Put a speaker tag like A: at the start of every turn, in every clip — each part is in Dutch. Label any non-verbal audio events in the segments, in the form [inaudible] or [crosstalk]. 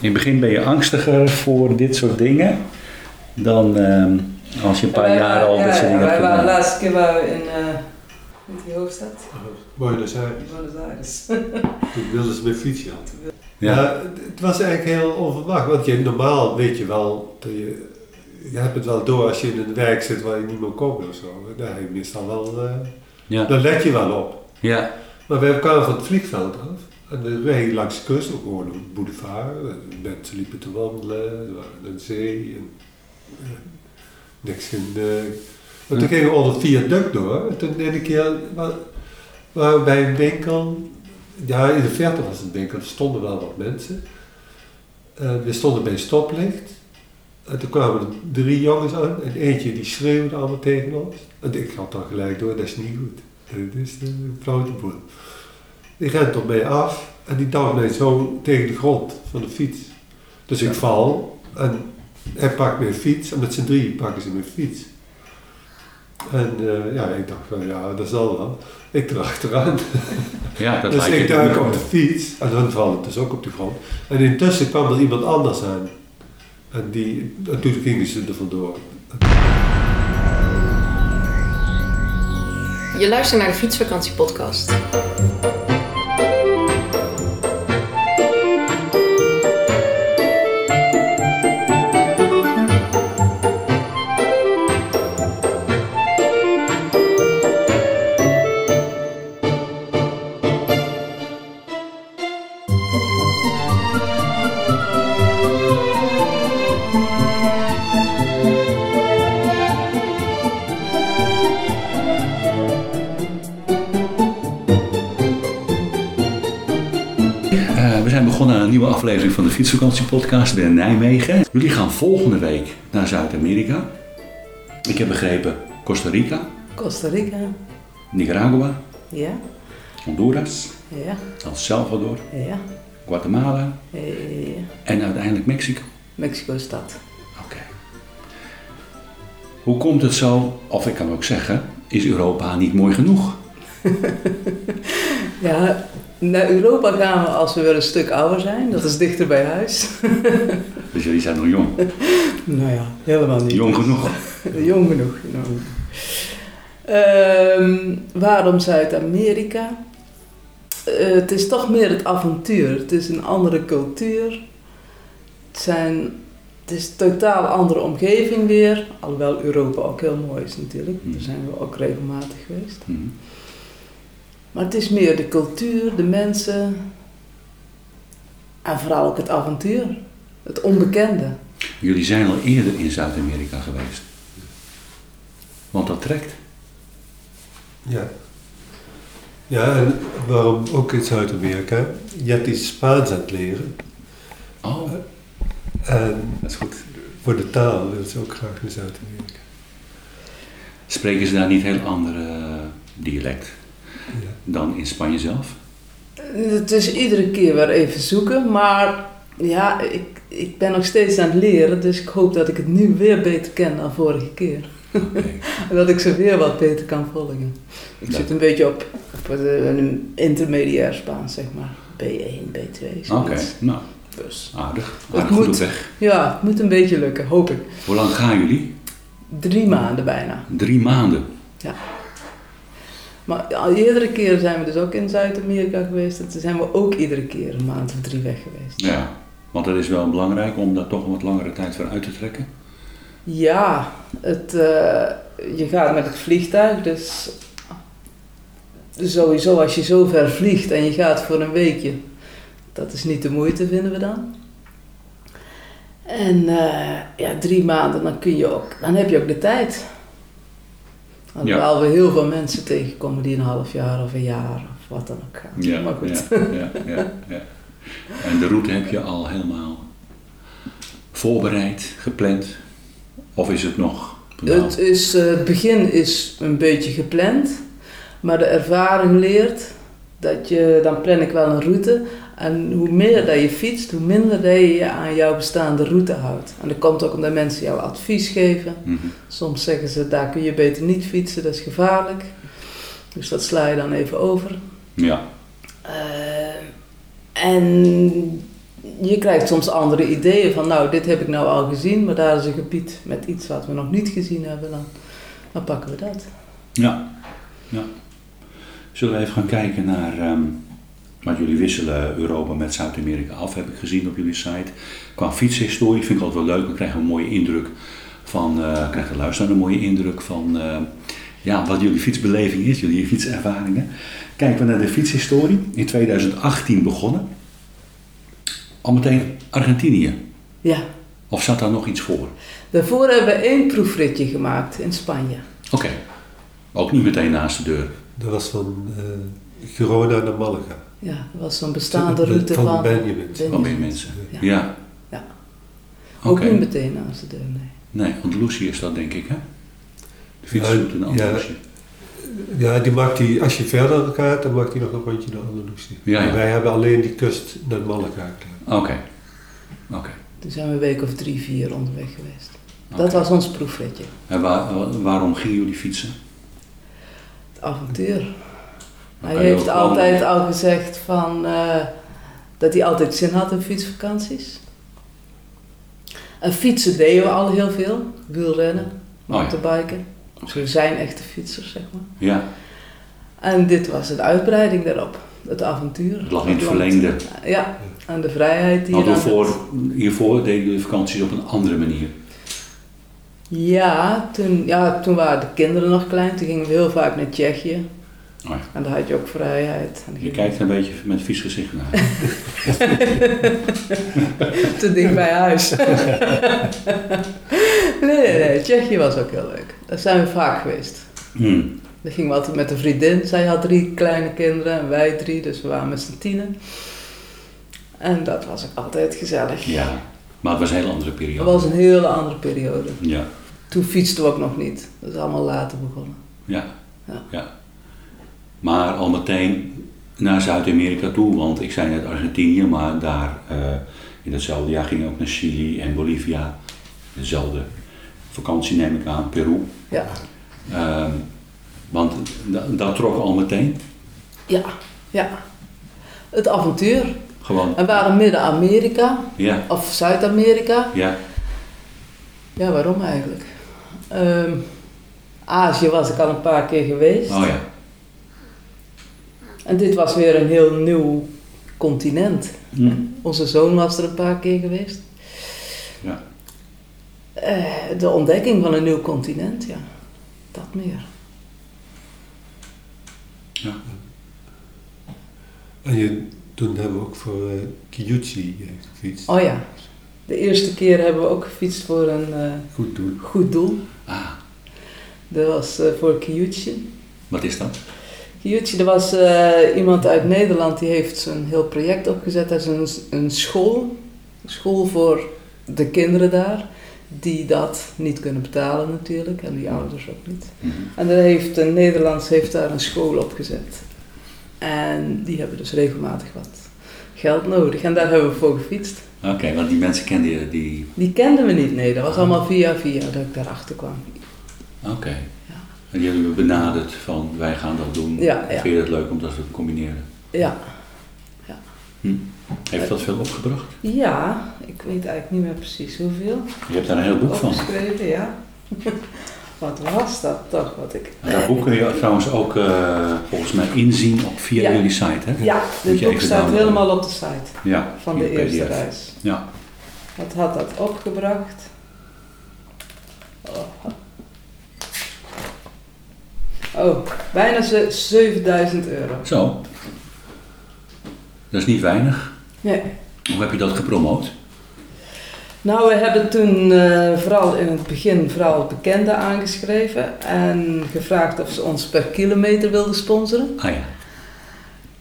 A: In het begin ben je angstiger voor dit soort dingen dan ehm, als je een paar
B: Wij
A: jaar
B: waren-
A: al
B: ja,
A: dat soort
B: ja,
A: dingen hebt
B: Wij waren de
A: gedaan.
B: laatste keer waren we in, eh, in die hoofdstad,
C: Buenos Aires.
B: Buenos Aires.
C: Toen wilden ze mijn fietsje aan.
A: Ja.
C: Maar het- het was eigenlijk heel onverwacht, want je, normaal weet je wel, dat je, je hebt het wel door als je in een werk zit waar je niet meer komt of zo. Daar heb je meestal wel, eh,
A: Ja.
C: daar let je wel op.
A: Ja.
C: Maar wij kwamen van het vliegveld af en we reden langs de kust, ook gewoon een boulevard. En Mensen liepen te wandelen, er waren aan de zee en eh, niks in de... Maar toen
A: Ja.
C: gingen we onder het viaduct door en toen de ene keer wa- waren we bij een winkel. Ja, in de verte was een winkel, er stonden wel wat mensen. En we stonden bij een stoplicht. En toen kwamen er drie jongens aan en eentje die schreeuwde allemaal tegen ons. En ik had dan gelijk door, dat is niet goed. Dit is de grote boel. Die rent op mij af en die duwt mij zo tegen de grond van de fiets. Dus ik val en hij pakt mijn fiets en met z'n drieën pakken ze mijn fiets. En eh, ja, ik dacht van ja, dat zal wel. Ik erachteraan.
A: ja, dat
C: Dus
A: lijkt
C: ik
A: je-
C: duik op de fiets en dan val ik dus ook op de grond. En intussen kwam er iemand anders aan. En, die, en toen gingen ze er vandoor.
D: Je luistert naar de Fietsvakantie Podcast.
A: Eh, we zijn begonnen aan een nieuwe aflevering van de Fietsvakantie Podcast bij Nijmegen. Jullie gaan volgende week naar Zuid-Amerika. Ik heb begrepen Costa Rica,
B: [laughs] Costa Rica,
A: Nicaragua,
B: ja,
A: Honduras,
B: ja,
A: El Salvador,
B: ja,
A: Guatemala en uiteindelijk Mexico.
B: Mexico stad.
A: Oké. Hoe komt het zo, of ik kan ook zeggen, is Europa niet mooi genoeg?
B: Ja, naar Europa gaan we als we weer een stuk ouder zijn, dat is dichter bij huis.
A: Dus jullie zijn nog jong.
B: nou ja, helemaal niet.
A: Jong genoeg.
B: Eh, Jong genoeg. jong genoeg. Ehm, waarom Zuid-Amerika? Eh, het is toch meer het avontuur. Het is een andere cultuur. Het, zijn, het is een totaal andere omgeving weer. Alhoewel Europa ook heel mooi is natuurlijk.
A: Hmm.
B: Daar zijn we ook regelmatig geweest.
A: Hm.
B: Maar het is meer de cultuur, de mensen. En vooral ook het avontuur. Het onbekende.
A: Jullie zijn al eerder in Zuid-Amerika geweest. Want dat trekt.
C: Ja. Ja, en waarom ook in Zuid-Amerika? Je hebt iets Spaans aan het leren.
A: Oh,
C: En
A: dat is goed.
C: Ehm, voor de taal wil ze ook graag naar Zuid-Amerika.
A: Spreken ze daar niet heel andere eh, dialect
C: Ja.
A: dan in Spanje zelf?
B: Het is iedere keer weer even zoeken, maar ja, ik, ik ben nog steeds aan het leren, dus ik hoop dat ik het nu weer beter ken dan vorige keer.
A: Oké.
B: En dat ik ze weer wat beter kan volgen. Ik
A: Ja.
B: zit een beetje op, op eh, een intermediair Spaans, zeg maar. B1, B2,
A: Oké,
B: zoiets.
A: nou,
B: Dus
A: aardig.
B: Het
A: Aardig goed op
B: moet.
A: weg.
B: ja, het moet een beetje lukken, hoop ik.
A: Hoe lang gaan jullie?
B: Drie maanden bijna.
A: Drie maanden.
B: Maar al iedere keer zijn we dus ook in Zuid-Amerika geweest. En toen zijn we ook iedere keer een maand of drie weg geweest.
A: Ja, want het is wel belangrijk om daar toch een wat langere tijd voor uit te trekken.
B: Ja, het, eh, je gaat met het vliegtuig, dus sowieso als je zo ver vliegt en je gaat voor een weekje, dat is niet de moeite, vinden we dan. En eh, ja, drie maanden, dan, kun je ook, dan heb je ook de tijd. Alhoewel we heel veel mensen tegenkomen die een half jaar of een jaar of wat dan ook gaan.
A: Ja,
B: maar goed.
A: Ja, ja, ja, ja. En de route heb je al helemaal voorbereid, gepland? Of is het nog? Nou,
B: Het, is, eh, het begin is een beetje gepland, maar de ervaring leert dat je, dan plan ik wel een route. En hoe meer dat je fietst, hoe minder dat je je aan jouw bestaande route houdt. En dat komt ook omdat mensen jou advies geven.
A: mhm.
B: Soms zeggen ze, daar kun je beter niet fietsen, dat is gevaarlijk. Dus dat sla je dan even over.
A: Ja,
B: Eh, en Eh, je krijgt soms andere ideeën van, nou, dit heb ik nou al gezien, maar daar is een gebied met iets wat we nog niet gezien hebben, dan, dan pakken we dat.
A: Ja. ja. Zullen we even gaan kijken naar. ehm want jullie wisselen Europa met Zuid-Amerika af, heb ik gezien op jullie site. Qua fietshistorie vind ik altijd wel leuk. Dan krijgen we een mooie indruk van. eh krijgt de luisteraar een mooie indruk van. eh, ja, wat jullie fietsbeleving is, jullie fietservaringen. Kijken we naar de fietshistorie. In 2018 begonnen. Al meteen Argentinië.
B: Ja,
A: Of zat daar nog iets voor?
B: daarvoor hebben we één proefritje gemaakt in Spanje.
A: Oké. Ook niet meteen naast de deur.
C: Dat was van eh Girona naar Malaga.
B: Ja, dat was zo'n bestaande route van...
C: Van Benjamins.
A: Van meer mensen.
B: Ja.
A: Ja.
B: Ja.
A: Oké.
B: Ook niet meteen naast de deur, nee.
A: Nee, Andalusië is dat denk ik, hè? De fietsroute in
C: Ja,
A: Andalusië.
C: Ja, die maakt die, als je verder gaat, dan maakt hij nog een rondje naar Andalusië.
A: Ja, ja.
C: Wij hebben alleen die kust naar Malaga. gedaan.
A: Oké. Oké.
B: Toen zijn we een week of drie, vier onderweg geweest. Dat
A: Oké.
B: was ons proefritje.
A: En waar- wa- waarom gingen jullie fietsen?
B: Het avontuur. Hij
A: kan je ook
B: heeft
A: wel-
B: altijd al gezegd van, eh, dat hij altijd zin had in fietsvakanties. En fietsen deden we al heel veel. Wielrennen,
A: Oh
B: mountainbiken. Dus we zijn echte fietsers, zeg maar.
A: Ja,
B: En dit was een uitbreiding daarop. Het avontuur.
A: het lag in het
B: land.
A: verlengde.
B: Ja, en de vrijheid die
A: Want
B: je dan...
A: hiervoor, hiervoor deden jullie vakanties op een andere manier.
B: Ja toen, ja, toen waren de kinderen nog klein. Toen gingen we heel vaak naar Tsjechië.
A: Oh ja.
B: En daar had je ook vrijheid. En dan
A: Je
B: ging
A: kijkt er een beetje met vies gezicht
B: [laughs]
A: naar.
B: te dicht bij huis. [laughs] nee, nee, nee. Tsjechië was ook heel leuk. Daar zijn we vaak geweest.
A: Hmm.
B: Daar gingen we altijd met een vriendin. Zij had drie kleine kinderen en wij drie, dus we waren met z'n tienen. En dat was ook altijd gezellig.
A: Ja, maar het was een hele andere
B: Dat
A: periode.
B: was een hele andere periode.
A: Ja,
B: Toen fietsten we ook nog niet. Dat is allemaal later begonnen.
A: ja,
B: Ja.
A: ja. Maar al meteen naar Zuid-Amerika toe, want ik zei net Argentinië, maar daar eh, in datzelfde jaar ging ik ook naar Chili en Bolivia. Dezelfde vakantie neem ik aan, Peru.
B: Ja.
A: Ehm, want da- dat trok al meteen.
B: Ja. Ja. Het avontuur.
A: Gewoon.
B: En we waren Midden-Amerika
A: Ja,
B: of Zuid-Amerika.
A: ja,
B: Ja, waarom eigenlijk? Ehm, Azië was ik al een paar keer geweest.
A: oh ja.
B: En dit was weer een heel nieuw continent.
A: Hm.
B: Onze zoon was er een paar keer geweest.
A: Ja.
B: Eh, de ontdekking van een nieuw continent, ja. Dat meer.
C: En je, toen hebben we ook voor eh Kiyuchi eh, gefietst.
B: Oh ja, de eerste keer hebben we ook gefietst voor een eh,
C: Goed doen.
B: goed doel.
A: Ah,
B: Dat was eh, voor Kyuchi.
A: wat is dat?
B: Jutje, er was eh, iemand uit Nederland die heeft een heel project opgezet. Dat is een, een school. Een school voor de kinderen daar. Die dat niet kunnen betalen natuurlijk. En die ouders ook niet.
A: Mhm.
B: En daar heeft, een Nederlands heeft daar een school opgezet. En die hebben dus regelmatig wat geld nodig. En daar hebben we voor gefietst.
A: Oké, want die mensen kenden je, die.
B: Die kenden we niet, nee. Dat was
A: Ah.
B: allemaal via via dat ik daarachter kwam.
A: Oké.
B: Ja.
A: En die hebben we benaderd van wij gaan dat doen.
B: Ja, ja.
A: Vind je dat leuk om dat te combineren?
B: Ja,
A: Heeft dat veel opgebracht?
B: ja ik weet eigenlijk niet meer precies hoeveel.
A: Je hebt daar een heel boek van.
B: Opgeschreven, ja. [laughs] Wat was dat toch? Wat ik...
A: En dat boek kun je trouwens ook eh, volgens mij inzien op via
B: Ja.
A: jullie site, hè?
B: Ja,
A: Moet
B: dit
A: je
B: boek
A: even
B: staat
A: downloaden.
B: helemaal op de site
A: Ja,
B: van
A: via
B: de eerste
A: PDF.
B: reis.
A: Ja,
B: Wat had dat opgebracht? Oh, oh bijna ze- 7000 euro.
A: zo. Dat is niet weinig.
B: Nee.
A: Hoe heb je dat gepromoot?
B: Nou, we hebben toen eh, vooral in het begin vooral bekenden aangeschreven en gevraagd of ze ons per kilometer wilden sponsoren.
A: Ah ja.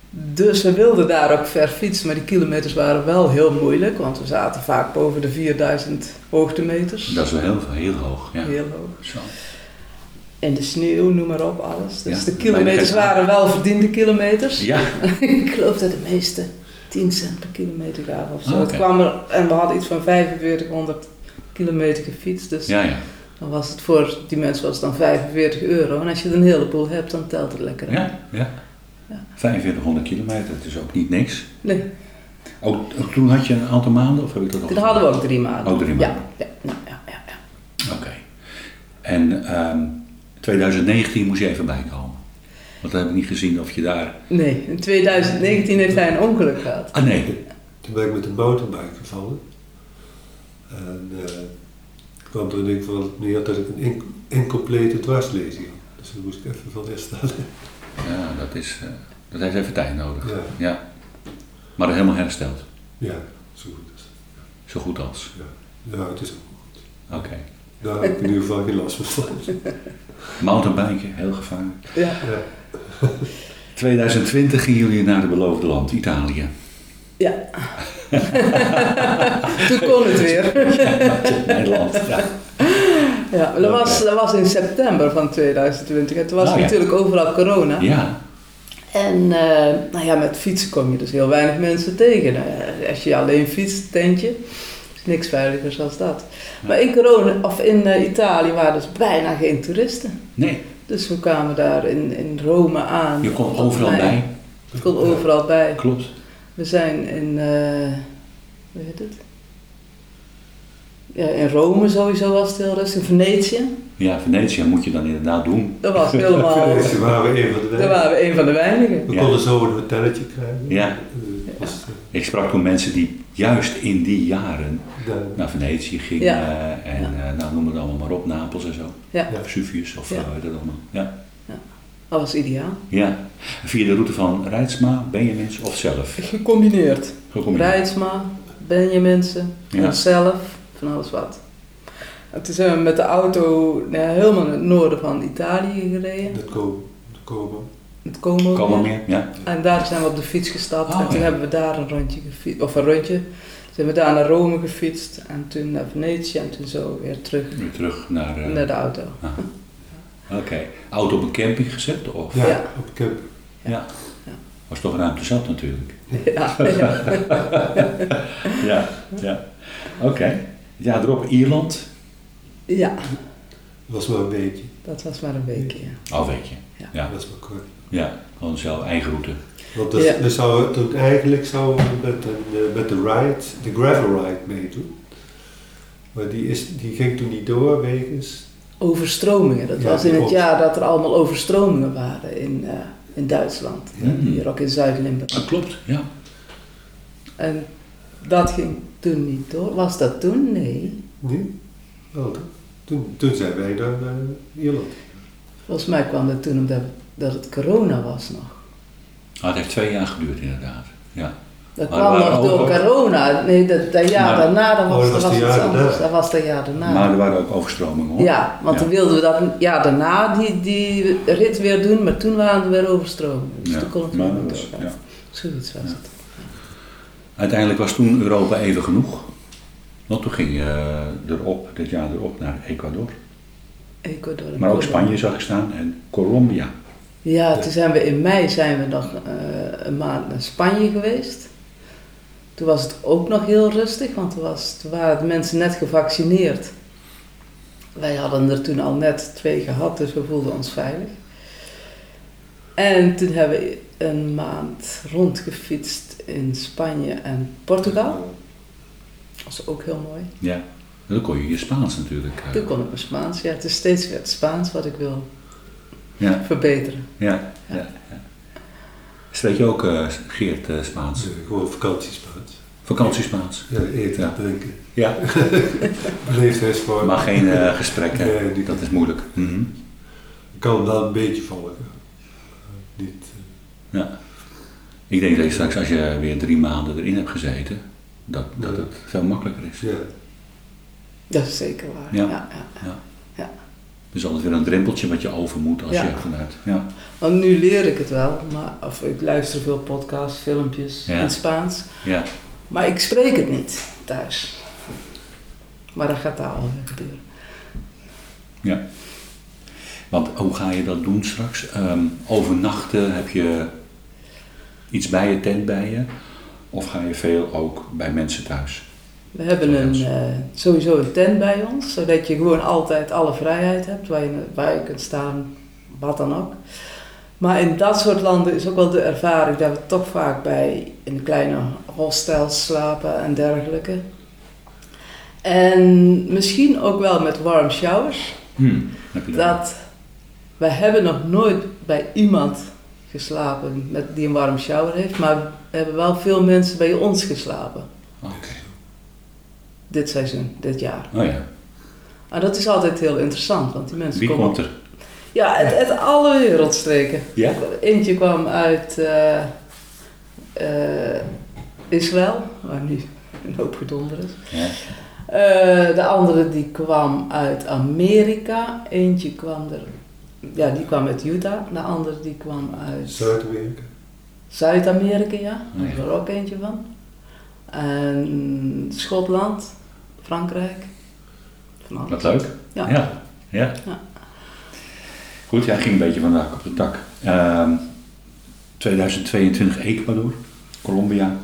B: Dus we wilden daar ook ver fietsen, maar die kilometers waren wel heel moeilijk, want we zaten vaak boven de 4000 hoogtemeters.
A: Dat is wel heel, heel hoog. Ja.
B: Heel hoog.
A: Zo.
B: In de sneeuw, noem maar op, alles. Dus
A: Ja,
B: de kilometers
A: bijna geen-
B: waren wel verdiende kilometers.
A: Ja,
B: [laughs] Ik geloof dat de meeste 10 cent per kilometer gaven of zo.
A: Ah, oké.
B: Het kwam er, en we hadden iets van 4500 kilometer gefietst, dus
A: ja, ja.
B: dan was het voor die mensen was het dan 45 euro. En als je er een heleboel hebt, dan telt het lekker.
A: ja, ja.
B: Ja.
A: 4500 kilometer, dat is ook niet niks.
B: Nee,
A: Ook, ook toen had je een aantal maanden, of heb ik dat al?
B: Toen hadden we ook drie maanden.
A: Ook drie maanden.
B: Ja, ja, nou, ja, ja, ja.
A: Oké. En ehm 2019 moest je even bijkomen. Want dan heb ik niet gezien of je daar...
B: Nee, in 2019 heeft hij een ongeluk gehad.
A: Ah nee,
C: Toen ben ik met een motorbike gevallen. En eh, kwam er in ieder geval op neer dat ik een in- incomplete dwarslezing had. Dus daar moest ik even van herstellen.
A: ja, dat, is, eh, dat heeft even tijd nodig.
C: Ja.
A: Ja. Maar dat is helemaal hersteld.
C: Ja, zo goed is het.
A: Zo goed als.
C: Ja, het is ook goed.
A: Oké.
C: Daar heb ik in ieder geval geen last van.
A: Mountainbiken, heel gevaarlijk.
B: [laughs] Ja,
C: Ja.
A: 2020 gingen jullie naar het beloofde land, Italië. [laughs]
B: ja. toen kon het weer.
A: Nederland. Ja.
B: Ja, maar dat, was, dat was in september van 2020. En toen was
A: Oh, ja.
B: natuurlijk overal corona.
A: ja.
B: En eh, nou ja, met fietsen kom je dus heel weinig mensen tegen. Nou ja, als je alleen fietst, tentje, is niks veiligers als dat. Maar in corona, of in eh, Italië waren dus bijna geen toeristen.
A: Nee,
B: Dus we kwamen daar in, in Rome aan.
A: je komt
B: Op
A: overal
B: mei.
A: bij.
B: Je kon overal bij.
A: Klopt.
B: We zijn in, eh, hoe heet het? Ja, in Rome sowieso was het heel rustig. In Venetië,
A: Ja, Venetië moet je dan inderdaad doen.
B: dat [laughs] was helemaal...
C: Deze waren we een van de
B: Daar
C: weinigen.
B: waren we een van de weinigen.
C: We
A: Ja.
C: konden zo een hotelletje krijgen.
A: Ja.
C: Eh, was, eh,
A: Ik sprak toen mensen die juist in die jaren
C: eh, daar-
A: naar Venetië gingen.
B: Ja.
A: eh, En eh, nou, noem het allemaal maar op, Napels en zo.
B: Ja.
A: Of Vesuvius of
B: Ja.
A: eh, hoe heet dat allemaal. Ja.
B: Dat was ideaal.
A: ja. Via de route van Reitsma, Benjamins of zelf.
B: Gecombineerd.
A: Gecombineerd.
B: Rijtsma, Benjaminsen,
A: Ja.
B: onszelf, van alles wat. En toen zijn we met de auto nou ja, helemaal naar het noorden van Italië gereden.
C: Dat komen. Dat komen.
B: Het Como.
A: Komen meer? Ja.
B: En daar zijn we op de fiets gestapt.
A: Oh,
B: en toen
A: ja.
B: hebben we daar een rondje gefietst. Of een rondje. Toen zijn we daar naar Rome gefietst. En toen naar Venetië. En toen zo weer terug
A: Weer terug naar... eh,
B: naar de auto.
A: aha. Oké. Auto op een camping gezet? Of?
C: Ja,
B: Ja.
C: op camp.
A: Ja. Was toch ruimte zat natuurlijk.
B: Ja, ja.
A: [laughs] Ja. ja. Oké. Ja, erop Ierland.
B: Ja,
C: was maar een beetje.
B: dat was maar een weekje. ja.
A: Al weet je.
B: Ja.
A: Ja.
C: Dat was maar kort.
A: Ja, gewoon zelf eigen route.
C: Want dus- dat,
B: Ja.
C: we zouden toen eigenlijk zouden we met, een, eh, met de ride, de gravel ride meedoen. Maar die, is, die ging toen niet door wegens.
B: Overstromingen. Dat
C: Ja,
B: was in het
C: klopt.
B: jaar dat er allemaal overstromingen waren in, eh, in Duitsland.
A: Ja.
B: Hier ook in Zuid-Limburg.
A: Dat klopt, ja.
B: En dat ging toen niet door. Was dat toen? Nee.
C: Nee? Wel, toen, toen zijn wij naar eh, Ierland.
B: Volgens mij kwam dat toen omdat dat het corona was nog.
A: Ah, het heeft twee jaar geduurd inderdaad. Ja.
B: Dat
A: Maar
B: kwam
A: er
B: nog
A: waren
B: door
A: ook-
B: corona. Nee, dat, dat jaar
A: Maar-
B: daarna dan was,
C: Oh, dat
B: dat
C: was
B: was
C: de
B: iets
C: jaar
B: anders.
C: daarna.
B: Dat was dat jaar daarna.
A: Maar er waren ook overstromingen hoor.
B: Nou. ja, want
A: Ja.
B: toen wilden we dat jaar daarna die, die rit weer doen, maar toen waren er weer overstromingen. Dus
A: Ja,
B: toen kon het
A: maar
B: weer niet
A: dat was-
B: door.
A: ja.
B: Zoiets was het.
A: Uiteindelijk was toen Europa even genoeg. Want toen ging je erop, dit jaar erop, naar Ecuador.
B: Ecuador en
A: Maar ook
B: Colombia.
A: Spanje zag ik staan en Colombia.
B: Ja, toen zijn we in mei zijn we nog eh, een maand naar Spanje geweest. Toen was het ook nog heel rustig, want toen, was, toen waren de mensen net gevaccineerd. Wij hadden er toen al net twee gehad, dus we voelden ons veilig. En toen hebben we een maand rondgefietst in Spanje en Portugal. Dat was ook heel mooi.
A: Ja. En dan kon je je Spaans natuurlijk. eh,
B: Toen kon ik mijn Spaans. Ja, het is steeds weer het Spaans wat ik wil
A: Ja,
B: verbeteren.
A: ja. ja. ja. Spreek je ook eh, Geert eh, Spaans?
C: Dus gewoon vakantiespaans.
A: Vakantiespaans?
C: Ja, eten,
A: Ja.
C: drinken.
A: Ja.
C: Beleefdheidsvorm.
A: Maar geen eh, gesprekken,
C: Nee, die-
A: dat is moeilijk. Mhm.
C: Ik kan hem wel een beetje volgen. Eh, niet, eh,
A: Ja. Ik denk dat je straks, als je weer drie maanden erin hebt gezeten, dat, dat
C: Ja.
A: het veel makkelijker is.
C: eh, ja.
B: Dat is zeker waar.
A: Ja.
B: ja, ja.
A: Er is Dus altijd weer een drempeltje wat je over moet als
B: Ja.
A: je vanuit. Ja.
B: Want nu leer ik het wel, maar, of ik luister veel podcasts, filmpjes
A: Ja.
B: in Spaans.
A: Ja.
B: Maar ik spreek het niet thuis. Maar dat gaat daar al weer gebeuren.
A: ja. Want hoe ga je dat doen straks? Ehm, overnachten heb je iets bij je tent bij je? Of ga je veel ook bij mensen thuis?
B: We hebben een,
A: Zoals?
B: eh, sowieso een tent bij ons, zodat je gewoon altijd alle vrijheid hebt, waar je, waar je kunt staan, wat dan ook. Maar in dat soort landen is ook wel de ervaring dat we toch vaak bij in kleine hostels slapen en dergelijke. En misschien ook wel met warm showers.
A: Hmm, heb je dat?
B: Dat we hebben nog nooit bij iemand geslapen met, die een warm shower heeft, maar we hebben wel veel mensen bij ons geslapen
A: Oké.
B: dit seizoen, dit jaar.
A: Oh ja.
B: En dat is altijd heel interessant, want die mensen
A: Wie
B: komen.
A: komt er?
B: Ja, uit, uit alle wereldstreken.
A: Ja?
B: Eentje kwam uit eh, eh, Israël, waar nu een hoop gedonder is.
A: Ja.
B: Eh, de andere die kwam uit Amerika. Eentje kwam er, ja, die kwam uit Utah. De andere die kwam uit
C: Zuid-Amerika.
B: Zuid-Amerika, ja.
A: Oh,
B: Daar
A: ja.
B: is er ook eentje van. En Schotland, Frankrijk. Van alles.
A: Wat leuk.
B: Ja.
A: Ja. ja.
B: Ja.
A: Goed, jij ging een beetje van de hak op de tak. Ehm, 2022 Ecuador, Colombia.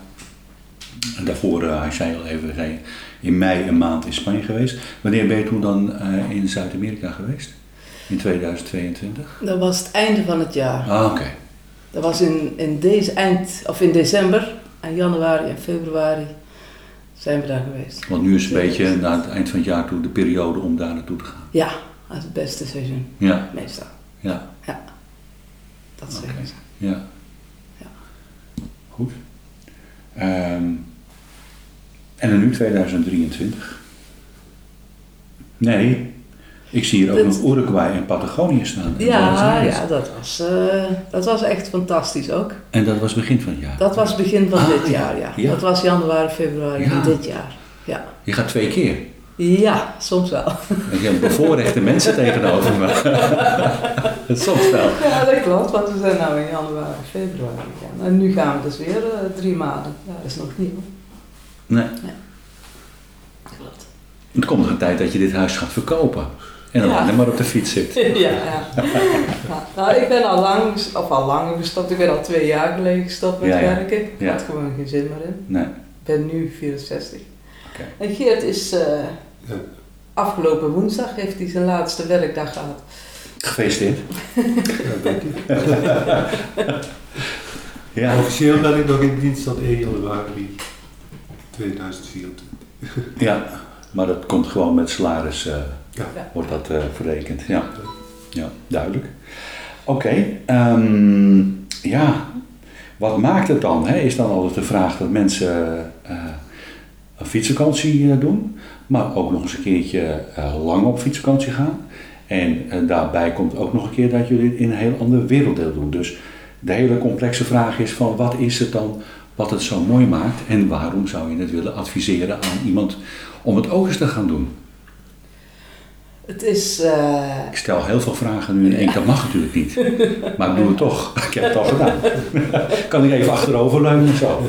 A: En daarvoor, eh, hij zei al even, zei, je, in mei een maand in Spanje geweest. Wanneer ben je toen dan eh, in Zuid-Amerika geweest? In 2022?
B: Dat was het einde van het jaar.
A: Ah, oké.
B: Dat was in, in, deze eind, of in december, en januari en februari zijn we daar geweest.
A: Want nu is het een beetje naar het eind van het jaar toe de periode om daar naartoe te gaan.
B: Ja, dat is het beste seizoen,
A: Ja,
B: meestal.
A: ja,
B: Dat
A: Oké.
B: zeggen ze.
A: ja.
B: Ja.
A: Goed. Ehm, en dan nu 2023. Nee, ik zie hier ook
B: Dat-
A: nog Uruguay en Patagonië staan. En Buenos
B: Ja,
A: Aires.
B: ja dat, was, eh, dat was echt fantastisch ook.
A: En dat was begin van het jaar.
B: Dat was begin van
A: Ah,
B: dit
A: ja,
B: jaar, ja.
A: ja.
B: Dat was januari, februari van
A: Ja.
B: dit jaar. Ja.
A: Je gaat twee keer.
B: ja, soms wel.
A: Je hebt bevoorrechte [laughs] mensen tegenover me. [laughs] Soms wel.
B: [laughs] Ja, dat klopt, want we zijn nou in januari, februari. gegaan. En nu gaan we dus weer eh, drie maanden. Ja, dat is nog nieuw.
A: Nee.
B: Klopt.
A: Er komt nog een tijd dat je dit huis gaat verkopen. En dan
B: Ja.
A: alleen maar op de fiets zit.
B: [laughs] ja, ja. Ja, Nou, ik ben al lang, of al lang gestopt. Ik ben al twee jaar geleden gestopt met
A: Ja, ja.
B: werken. Ik
A: Ja.
B: had gewoon geen zin meer in.
A: Nee.
B: Ik ben nu 64.
A: Oké.
B: En Geert is eh,
C: Ja.
B: afgelopen woensdag heeft hij zijn laatste werkdag gehad.
A: Gefeliciteerd.
C: Ja, denk ik.
A: [laughs] Ja.
C: Officieel ben ik nog in dienst tot 1 januari 2024.
A: Ja, maar dat komt gewoon met salaris, eh,
C: Ja.
B: Ja.
A: wordt dat eh, verrekend. Ja. ja, duidelijk. Oké, ehm, ja, wat maakt het dan? Hè? Is dan altijd de vraag dat mensen eh, een fietsvakantie eh, doen, maar ook nog eens een keertje eh, lang op fietsvakantie gaan. En eh, daarbij komt ook nog een keer dat jullie het in een heel ander werelddeel doen. Dus de hele complexe vraag is van wat is het dan wat het zo mooi maakt en waarom zou je het willen adviseren aan iemand om het ook eens te gaan doen?
B: Het is, eh,
A: Ik stel heel veel vragen nu in één, dat mag natuurlijk niet. Maar ik doe het toch. Ik heb het al gedaan. [laughs] Kan ik even achteroverleunen of zo?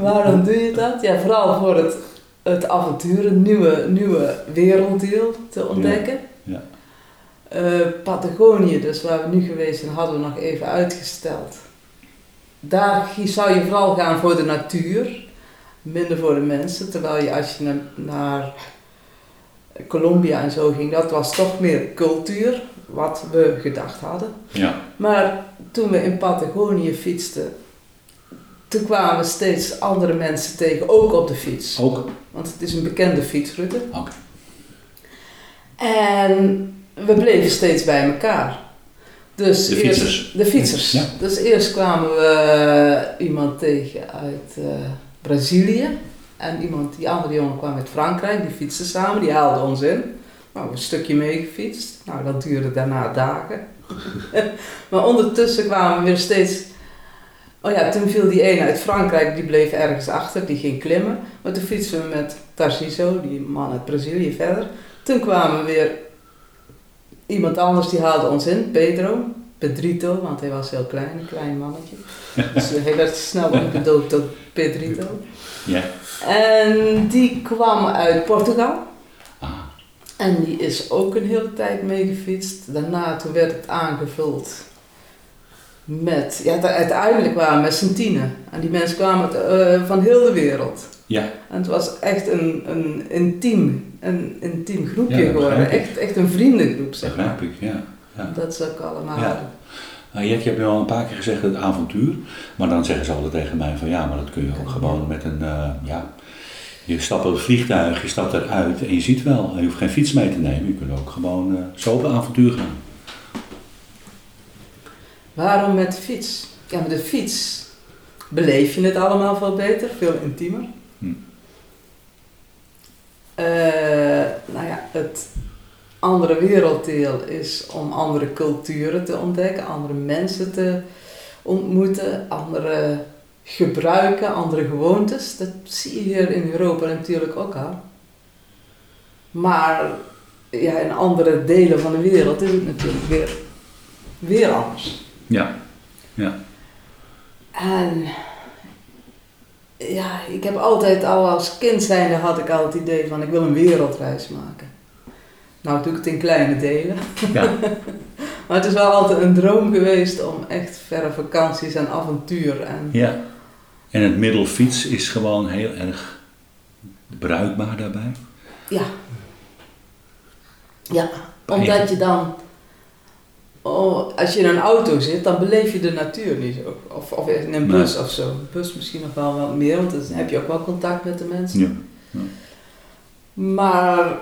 B: waarom doe je dat? Ja, vooral voor het, het avontuur, een nieuwe, nieuwe werelddeel te ontdekken.
A: Ja, ja.
B: Eh, Patagonië, dus waar we nu geweest zijn, hadden we nog even uitgesteld. Daar gie- zou je vooral gaan voor de natuur, minder voor de mensen. Terwijl je als je naar, naar Colombia en zo ging, dat was toch meer cultuur, wat we gedacht hadden.
A: Ja,
B: Maar toen we in Patagonië fietsten, toen kwamen we steeds andere mensen tegen, ook op de fiets.
A: ook.
B: Want het is een bekende fietsroute.
A: Oké.
B: En we bleven steeds bij elkaar. Dus
A: De
B: eerst-
A: fietsers.
B: de fietsers.
A: Ja.
B: Dus eerst kwamen we eh, iemand tegen uit eh, Brazilië. En iemand, die andere jongen kwam uit Frankrijk. Die fietsten samen, die haalden ons in. Nou, een stukje meegefietst. Nou, dat duurde daarna dagen. [laughs] maar ondertussen kwamen we weer steeds... Oh ja, toen viel die ene uit Frankrijk, die bleef ergens achter. Die ging klimmen. Maar toen fietsen we met Tarciso, die man uit Brazilië, verder. Toen kwamen we weer... Iemand anders die haalde ons in, Pedro. Pedrito, want hij was heel klein, een klein mannetje. Dus hij werd snel omgedoopt tot Pedrito.
A: Ja.
B: En die kwam uit Portugal.
A: Ah,
B: En die is ook een hele tijd meegefietst. Daarna toen werd het aangevuld met... Ja, da- uiteindelijk waren we met z'n tienen. En die mensen kwamen uit, eh, van heel de wereld.
A: Ja.
B: En het was echt een, een intiem, een intiem groepje
A: Ja, dat begrijp
B: geworden.
A: ik.
B: Echt, echt een vriendengroep,
A: dat
B: zeg maar.
A: begrijp ik. Ja. ja.
B: Dat is ook allemaal.
A: Ja. Ah, Jack, je hebt nu al een paar keer gezegd het avontuur. Maar dan zeggen ze altijd tegen mij van ja, maar dat kun je ook gewoon met een, eh, ja... Je stapt op het vliegtuig, je stapt eruit en je ziet wel. Je hoeft geen fiets mee te nemen. Je kunt ook gewoon eh, zo op een avontuur gaan.
B: Waarom met de fiets? Ja, met de fiets beleef je het allemaal veel beter, veel intiemer.
A: Hm.
B: Eh, nou ja, het andere werelddeel is om andere culturen te ontdekken, andere mensen te ontmoeten, andere gebruiken, andere gewoontes. Dat zie je hier in Europa natuurlijk ook al. Maar ja, in andere delen van de wereld is het natuurlijk weer, weer anders.
A: Ja.
B: En Ehm, ja, ik heb altijd al als kind zijnde had ik al het idee van ik wil een wereldreis maken. Nou doe ik het in kleine delen.
A: Ja.
B: [laughs] Maar het is wel altijd een droom geweest om echt verre vakanties en avontuur en
A: ja. En het middelfiets is gewoon heel erg bruikbaar daarbij.
B: ja. Ja, omdat je dan oh, als je in een auto zit, dan beleef je de natuur niet zo. Of, of in een bus of zo. Een bus misschien nog wel wat meer, want dan heb je ook wel contact met de mensen.
A: Ja.
B: Maar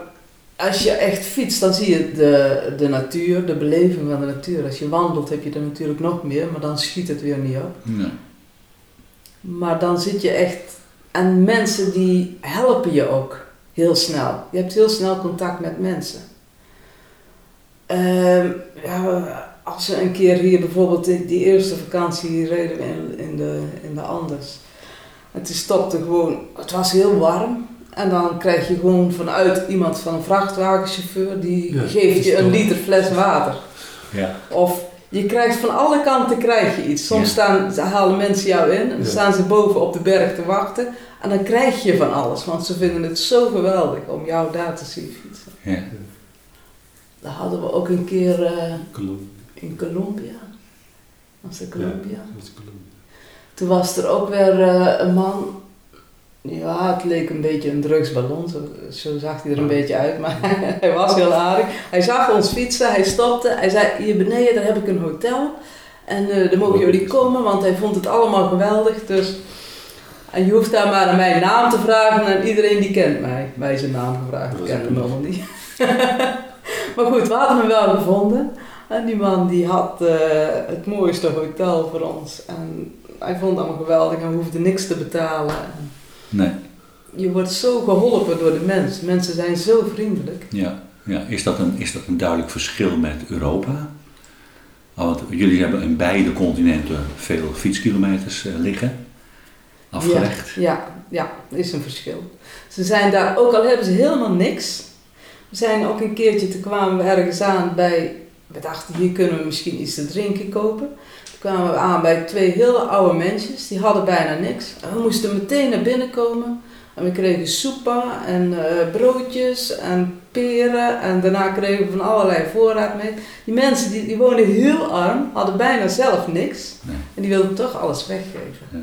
B: als je echt fietst, dan zie je de, de natuur, de beleving van de natuur. Als je wandelt, heb je er natuurlijk nog meer, maar dan schiet het weer niet op.
A: Ja.
B: Maar dan zit je echt. En mensen die helpen je ook heel snel. Je hebt heel snel contact met mensen. Ehm, ja, als we een keer hier bijvoorbeeld die, die eerste vakantie hier reden we in, in, de, in de Anders. En toen stopte gewoon, het was heel warm. En dan krijg je gewoon vanuit iemand van een vrachtwagenchauffeur, die
C: Ja,
B: geeft je een
C: verstoord.
B: liter fles water.
A: Ja.
B: Of je krijgt van alle kanten krijg je iets. Soms
A: Ja.
B: staan, ze halen mensen jou in en dan
C: Ja.
B: staan ze boven op de berg te wachten. En dan krijg je van alles, want ze vinden het zo geweldig om jou daar te zien fietsen.
A: Ja.
B: Dat hadden we ook een keer eh,
C: Kolom.
B: in Colombia. Was het Colombia?
C: Dat is kolom.
B: Toen was er ook weer eh, een man. Ja, het leek een beetje een drugsballon. Zo, zo zag hij er een beetje uit. Maar [laughs] hij was heel aardig. Hij zag ons fietsen. Hij stopte. Hij zei, hier beneden daar heb ik een hotel. En eh, daar mogen jullie komen. Want hij vond het allemaal geweldig. Dus en je hoeft daar maar aan mijn naam te vragen. En iedereen die kent mij. Mij zijn naam gevraagd. Ik
C: Dat is
B: ken hem
C: goed.
B: allemaal niet. [laughs] maar goed, we hadden hem wel gevonden. En die man die had eh, het mooiste hotel voor ons. En hij vond het allemaal geweldig en we hoefden niks te betalen. En
A: Nee.
B: Je wordt zo geholpen door de mens. Mensen zijn zo vriendelijk.
A: Ja, ja. Is, dat een, is dat een duidelijk verschil met Europa? Ah, Want jullie hebben in beide continenten veel fietskilometers eh, liggen, afgelegd.
B: Ja, ja, er is een verschil. Ze zijn daar, ook al hebben ze helemaal niks. We zijn ook een keertje, toen kwamen we ergens aan bij, we dachten hier kunnen we misschien iets te drinken kopen. Toen kwamen we aan bij twee hele oude mensjes, die hadden bijna niks. En we moesten meteen naar binnen komen. En we kregen soepa en eh, broodjes en peren en daarna kregen we van allerlei voorraad mee. Die mensen die, die woonden heel arm, hadden bijna zelf niks.
A: Nee.
B: En die wilden toch alles weggeven.
A: Ja.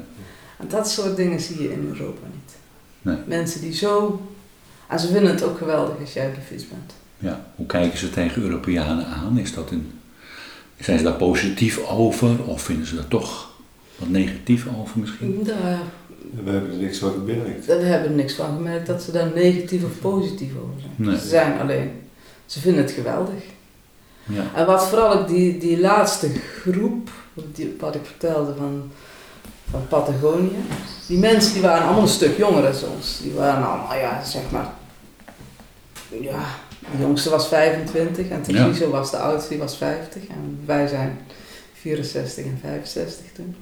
B: En dat soort dingen zie je in Europa niet.
A: Nee.
B: Mensen die zo... En ze vinden het ook geweldig als jij op de fiets bent.
A: Ja. Hoe kijken ze tegen Europeanen aan? Is dat een, zijn ze daar positief over of vinden ze daar toch wat negatief over misschien?
B: Daar,
C: En we hebben er niks van gemerkt.
B: daar hebben we niks van gemerkt dat ze daar negatief of positief over zijn.
A: Nee.
B: Ze zijn alleen... Ze vinden het geweldig.
A: Ja.
B: En wat vooral ook die, die laatste groep, die, wat ik vertelde van, van Patagonië. Die mensen die waren allemaal een stuk jonger dan ons. Die waren allemaal, ja, zeg maar. Ja, de jongste was 25 en
A: Ja.
B: Treviso was de oudste, die was 50. En wij zijn 64 en 65 toen.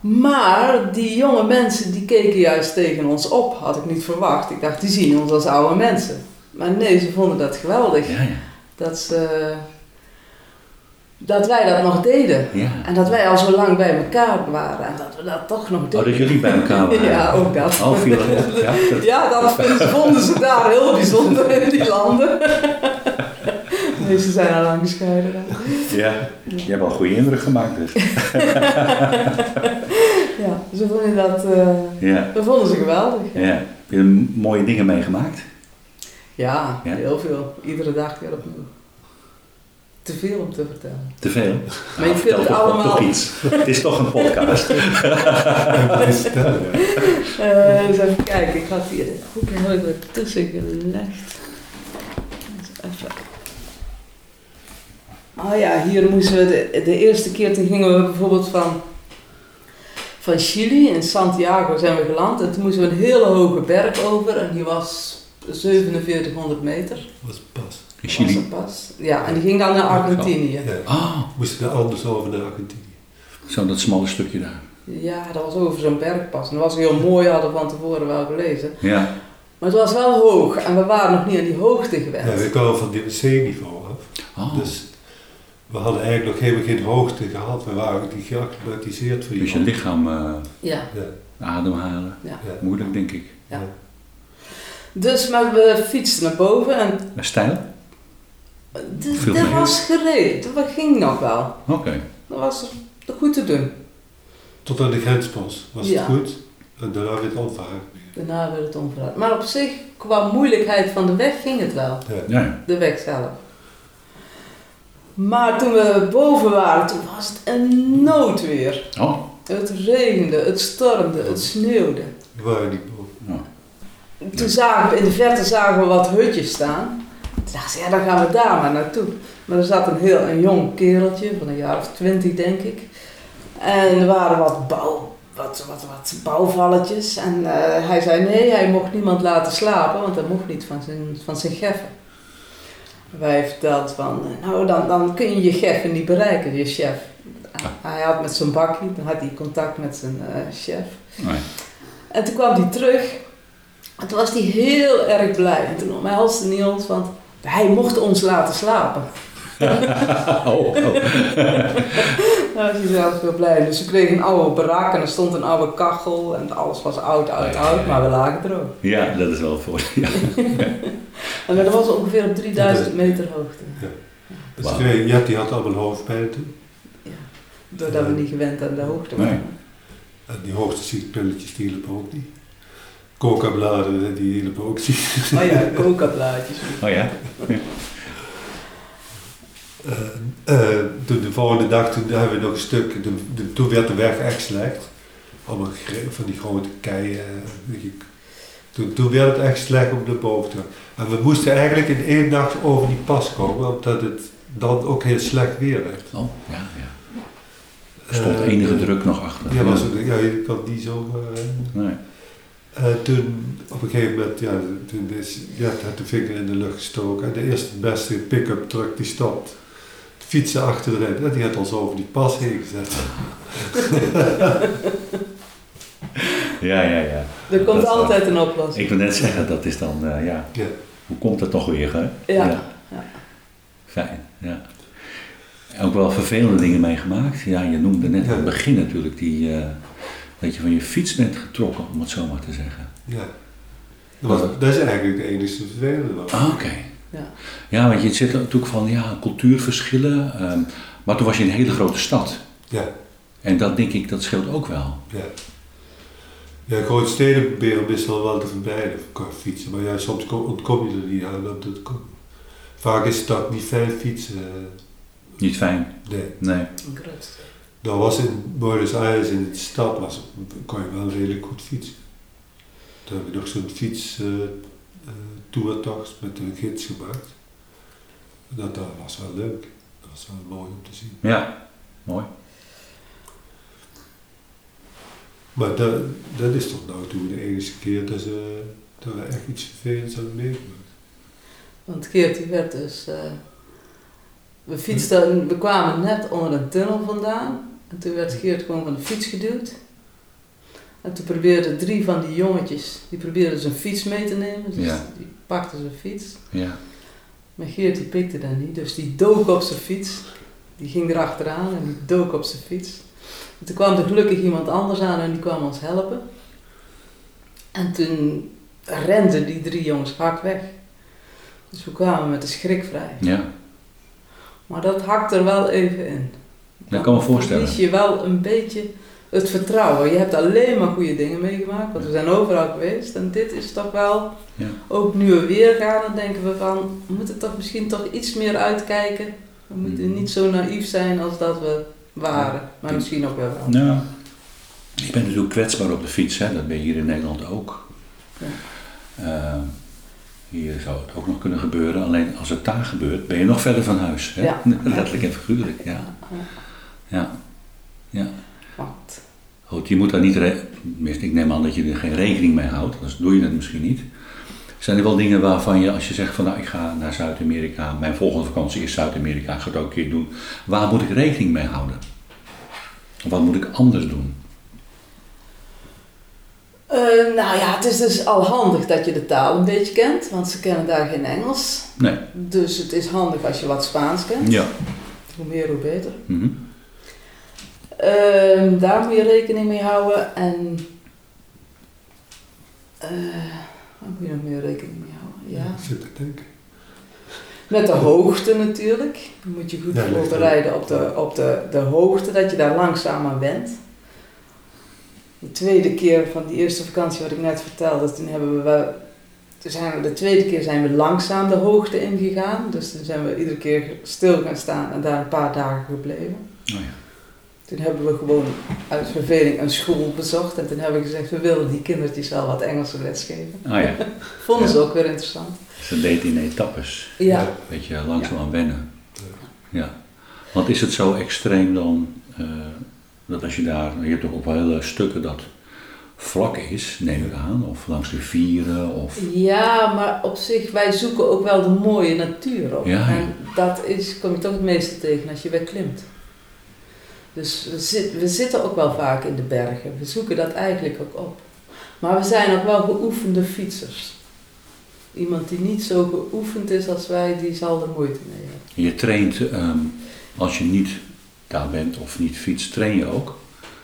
B: Maar die jonge mensen die keken juist tegen ons op, had ik niet verwacht. Ik dacht, die zien ons als oude mensen. Maar nee, ze vonden dat geweldig.
A: Ja, ja.
B: Dat, ze, dat wij dat nog deden.
A: ja.
B: En dat wij al zo lang bij elkaar waren. En dat we dat toch nog
A: Oh,
B: deden.
A: dat jullie bij
B: [laughs]
A: elkaar waren.
B: Ja, ook dat.
A: Oh, viel dat op? Ja, dat-
B: Ja, dat vinden- vonden ze daar heel bijzonder in
A: [laughs]
B: die landen. Nee, ze zijn al lang gescheiden. daar.
A: ja. Je hebt al een goede indruk gemaakt dus.
B: Ja, ze vonden dat, eh,
A: Ja.
B: dat vonden ze geweldig.
A: ja. Heb je er mooie dingen meegemaakt?
B: Ja,
A: Ja.
B: heel veel. Iedere dag weer opnieuw. te veel om te vertellen.
A: Te veel? Nou,
B: Maar je kunt
A: vertel
B: het
A: toch,
B: allemaal-
A: toch iets. Het is toch een podcast.
C: Dat is vertellen, ja.
B: Eh, eens even kijken, ik had hier een boekje nooit wat tussen gelegd. Eens Even. Oh ja, hier moesten we de, de eerste keer, toen gingen we bijvoorbeeld van, van Chili, in Santiago zijn we geland. En toen moesten we een hele hoge berg over en die was 4700 meter.
C: was pas.
A: [laughs] In
B: Was
A: Chili.
B: een pas. Ja, en die ging dan naar Argentinië.
C: Ja.
A: Ah,
C: Moest ik anders over naar Argentinië.
A: zo dat smalle stukje daar.
B: Ja, dat was over zo'n bergpas. En dat was heel mooi, hadden we van tevoren wel gelezen.
A: Ja.
B: Maar het was wel hoog en we waren nog niet aan die hoogte
C: Ja,
B: gewend.
C: we kwamen van die zeeniveau af.
A: Oh, dus,
C: Dus we hadden eigenlijk nog helemaal geen hoogte gehad. We waren die geacclimatiseerd voor die
A: je
C: hoogte.
A: lichaam eh,
B: Ja.
C: Ja,
A: ademhalen.
B: Ja.
C: ja.
A: Moeilijk, denk ik.
B: Ja.
C: ja.
B: Dus maar we fietsten naar boven en
A: Maar stijl?
B: d-
A: Veel
B: Dus dat
A: meer.
B: was gereden. Dat ging nog wel.
A: Oké.
B: Dat was goed te doen.
C: Tot aan de grenspost was
B: Ja.
C: het goed. En daarna weer het onverhaakt weer.
B: Daarna werd het onverhaald. Maar op zich, qua moeilijkheid van de weg, ging het wel.
C: Ja.
A: Ja, ja.
B: De weg zelf. Maar toen we boven waren, toen was het een noodweer.
A: Oh,
B: Het regende, het stormde, het sneeuwde.
C: We waren niet boven.
B: Toen zagen we, in de verte zagen we wat hutjes staan. Toen dachten ze, ja, dan gaan we daar maar naartoe. Maar er zat een heel een jong kereltje, van een jaar of twintig denk ik. En er waren wat, bouw, wat, wat, wat bouwvalletjes. En eh, hij zei nee, hij mocht niemand laten slapen, want dat mocht niet van zijn, van zijn geffen. Wij verteld van, nou dan, dan kun je je geffen niet bereiken, je chef. Hij had met zijn bakkie, dan had hij contact met zijn eh, chef.
A: nee.
B: En toen kwam hij terug. En toen was hij heel erg blij. En toen omhelsde hij ons, want hij mocht ons laten slapen.
A: [laughs] Oh, oh.
B: Daar was hij zelf heel blij. Dus we kregen een oude barak en er stond een oude kachel. En alles was oud, oud,
A: Ja, ja, ja.
B: oud, maar we lagen droog.
A: Ja, dat is wel voor. Ja.
B: En dat was ongeveer op 3000 meter hoogte.
C: Dus
A: Wauw.
C: twee, Jet die had allemaal hoofdpijn toen.
B: Doordat we niet gewend aan de hoogte
A: Nee.
B: waren.
C: En die hoogteziekpilletjes die hielpen ook niet. Coca-bladeren die hielpen ook niet.
B: Maar Oh Ah, ja,
A: [laughs]
B: coca-blaadjes.
A: Oh ja?
C: [laughs] Eh, eh, toen de volgende dag, toen hebben we nog een stuk, de- de- toen werd de weg echt slecht. Allemaal gre- van die grote keien. eh, weet ik. Toen, toen werd het echt slecht om naar boven te gaan. En we moesten eigenlijk in één dag over die pas komen, omdat het dan ook heel slecht weer werd.
A: Oh, ja, ja. Er stond
C: Eh,
A: enige
C: eh,
A: druk nog achter.
C: Ja, was ook- ja, je kan die zo... eh,
A: Nee.
C: eh, toen, op een gegeven moment, ja, toen is Jet had de vinger in de lucht gestoken. En de eerste beste pick-up truck die stopt. De fietsen achter erin. En die had ons over die pas heen gezet.
A: Ja, ja, ja.
B: Er
A: Dat
B: komt
A: is wel-
B: altijd een oplossing.
A: Ik wil net zeggen, dat is dan, eh, ja.
C: Ja.
A: Hoe komt dat toch weer, hè?
B: Ja, ja.
A: Fijn, ja. Ook wel vervelende dingen meegemaakt. Ja, je noemde net
C: Ja.
A: aan het begin natuurlijk die, eh, dat je van je fiets bent getrokken, om het zo maar te zeggen.
C: Ja. Dat, was- dat is eigenlijk de enige vervelende. was.
A: Ah, Oké.
B: Ja.
A: Ja, want je zit natuurlijk van, ja, cultuurverschillen. ehm, maar toen was je in een hele grote stad.
C: Ja,
A: En dat denk ik, dat scheelt ook wel.
C: ja. Ja, grote steden proberen meestal wel te vermijden qua fietsen. Maar ja, soms kom- ontkom je er niet aan om te komen. Vaak is het dat niet fijn fietsen. eh,
A: Niet fijn.
C: Nee.
A: Nee.
B: Een groot-
C: Dat was in Buenos Aires in de stad, was, kon je wel redelijk goed fietsen. Toen heb ik nog zo'n fietstoertocht met een gids gemaakt. Dat, dat was wel leuk. Dat was wel mooi om te zien.
A: Ja, mooi.
C: Maar dat, dat is tot nou toe de enige keer dat, ze, dat we echt iets vervelends hebben meegemaakt.
B: Want Geert die werd dus... eh, we fietsten, we kwamen net onder een tunnel vandaan. En toen werd Geert gewoon van de fiets geduwd. En toen probeerden drie van die jongetjes, die probeerden zijn fiets mee te nemen. Dus
A: Ja.
B: die pakten zijn fiets.
A: Ja.
B: Maar Geert die pikte dat niet, dus die dook op zijn fiets. Die ging erachteraan en die dook op zijn fiets. En toen kwam er gelukkig iemand anders aan en die kwam ons helpen. En toen renden die drie jongens hard weg. Dus we kwamen met de schrik vrij.
A: Ja.
B: Maar dat hakt er wel even in.
A: Dat kan me
B: Dan
A: voorstellen.
B: verlies je wel een beetje het vertrouwen. Je hebt alleen maar goede dingen meegemaakt, want we zijn overal geweest. En dit is toch wel,
A: Ja.
B: ook nu we weer gaan, dan denken we van, we moeten toch misschien toch iets meer uitkijken We
A: Mhm.
B: moeten niet zo naïef zijn als dat we waren. Maar misschien ook wel wel.
A: Nou, je bent natuurlijk dus kwetsbaar op de fiets, hè? dat ben je hier in Nederland ook.
B: Ja.
A: Eh, hier zou het ook nog kunnen gebeuren, alleen als het daar gebeurt, ben je nog verder van huis. Hè?
B: Ja.
A: [laughs] Letterlijk en figuurlijk, ja. ja. ja.
B: Want,
A: Goed, je moet daar niet, re- tenminste, ik neem aan dat je er geen rekening mee houdt, anders doe je dat misschien niet. Zijn er wel dingen waarvan je, als je zegt van nou, ik ga naar Zuid-Amerika, mijn volgende vakantie is Zuid-Amerika, ik ga het ook een keer doen. Waar moet ik rekening mee houden? Wat moet ik anders doen?
B: Eh, nou ja, het is dus al handig dat je de taal een beetje kent, want ze kennen daar geen Engels.
A: Nee.
B: Dus het is handig als je wat Spaans kent.
A: Ja.
B: Hoe meer, hoe beter.
A: Mhm.
B: Ehm, daar moet je rekening mee houden en. eh, waar moet je nog meer rekening mee houden? Ja.
C: Zit te denken.
B: Met de hoogte natuurlijk. Dan moet je goed
C: Ja, ligt er-
B: voorbereiden op, de, op de, de hoogte, dat je daar langzaam aan bent. De tweede keer van die eerste vakantie wat ik net vertelde, toen hebben we wel- toen zijn we de tweede keer zijn we langzaam de hoogte ingegaan. Dus toen zijn we iedere keer stil gaan staan en daar een paar dagen gebleven.
A: Oh ja.
B: Toen hebben we gewoon uit verveling een school bezocht en toen hebben we gezegd, we willen die kindertjes wel wat Engelse les geven.
A: Ah ja,
B: Vonden ze
A: Ja.
B: ook weer interessant.
A: ze deed in etappes.
B: Ja.
A: Een beetje langzaam aan wennen. Ja. Want is het zo extreem dan eh, dat als je daar, je hebt toch op hele stukken dat vlak is, neem ik aan, of langs rivieren of.
B: Ja, maar op zich, wij zoeken ook wel de mooie natuur op.
A: Ja, ja.
B: En dat is, kom je toch het meeste tegen als je weer klimt. Dus we, zit- we zitten ook wel vaak in de bergen. We zoeken dat eigenlijk ook op. Maar we zijn ook wel geoefende fietsers. Iemand die niet zo geoefend is als wij, die zal er moeite mee hebben.
A: Je traint ehm, als je niet daar bent of niet fietst, train je ook.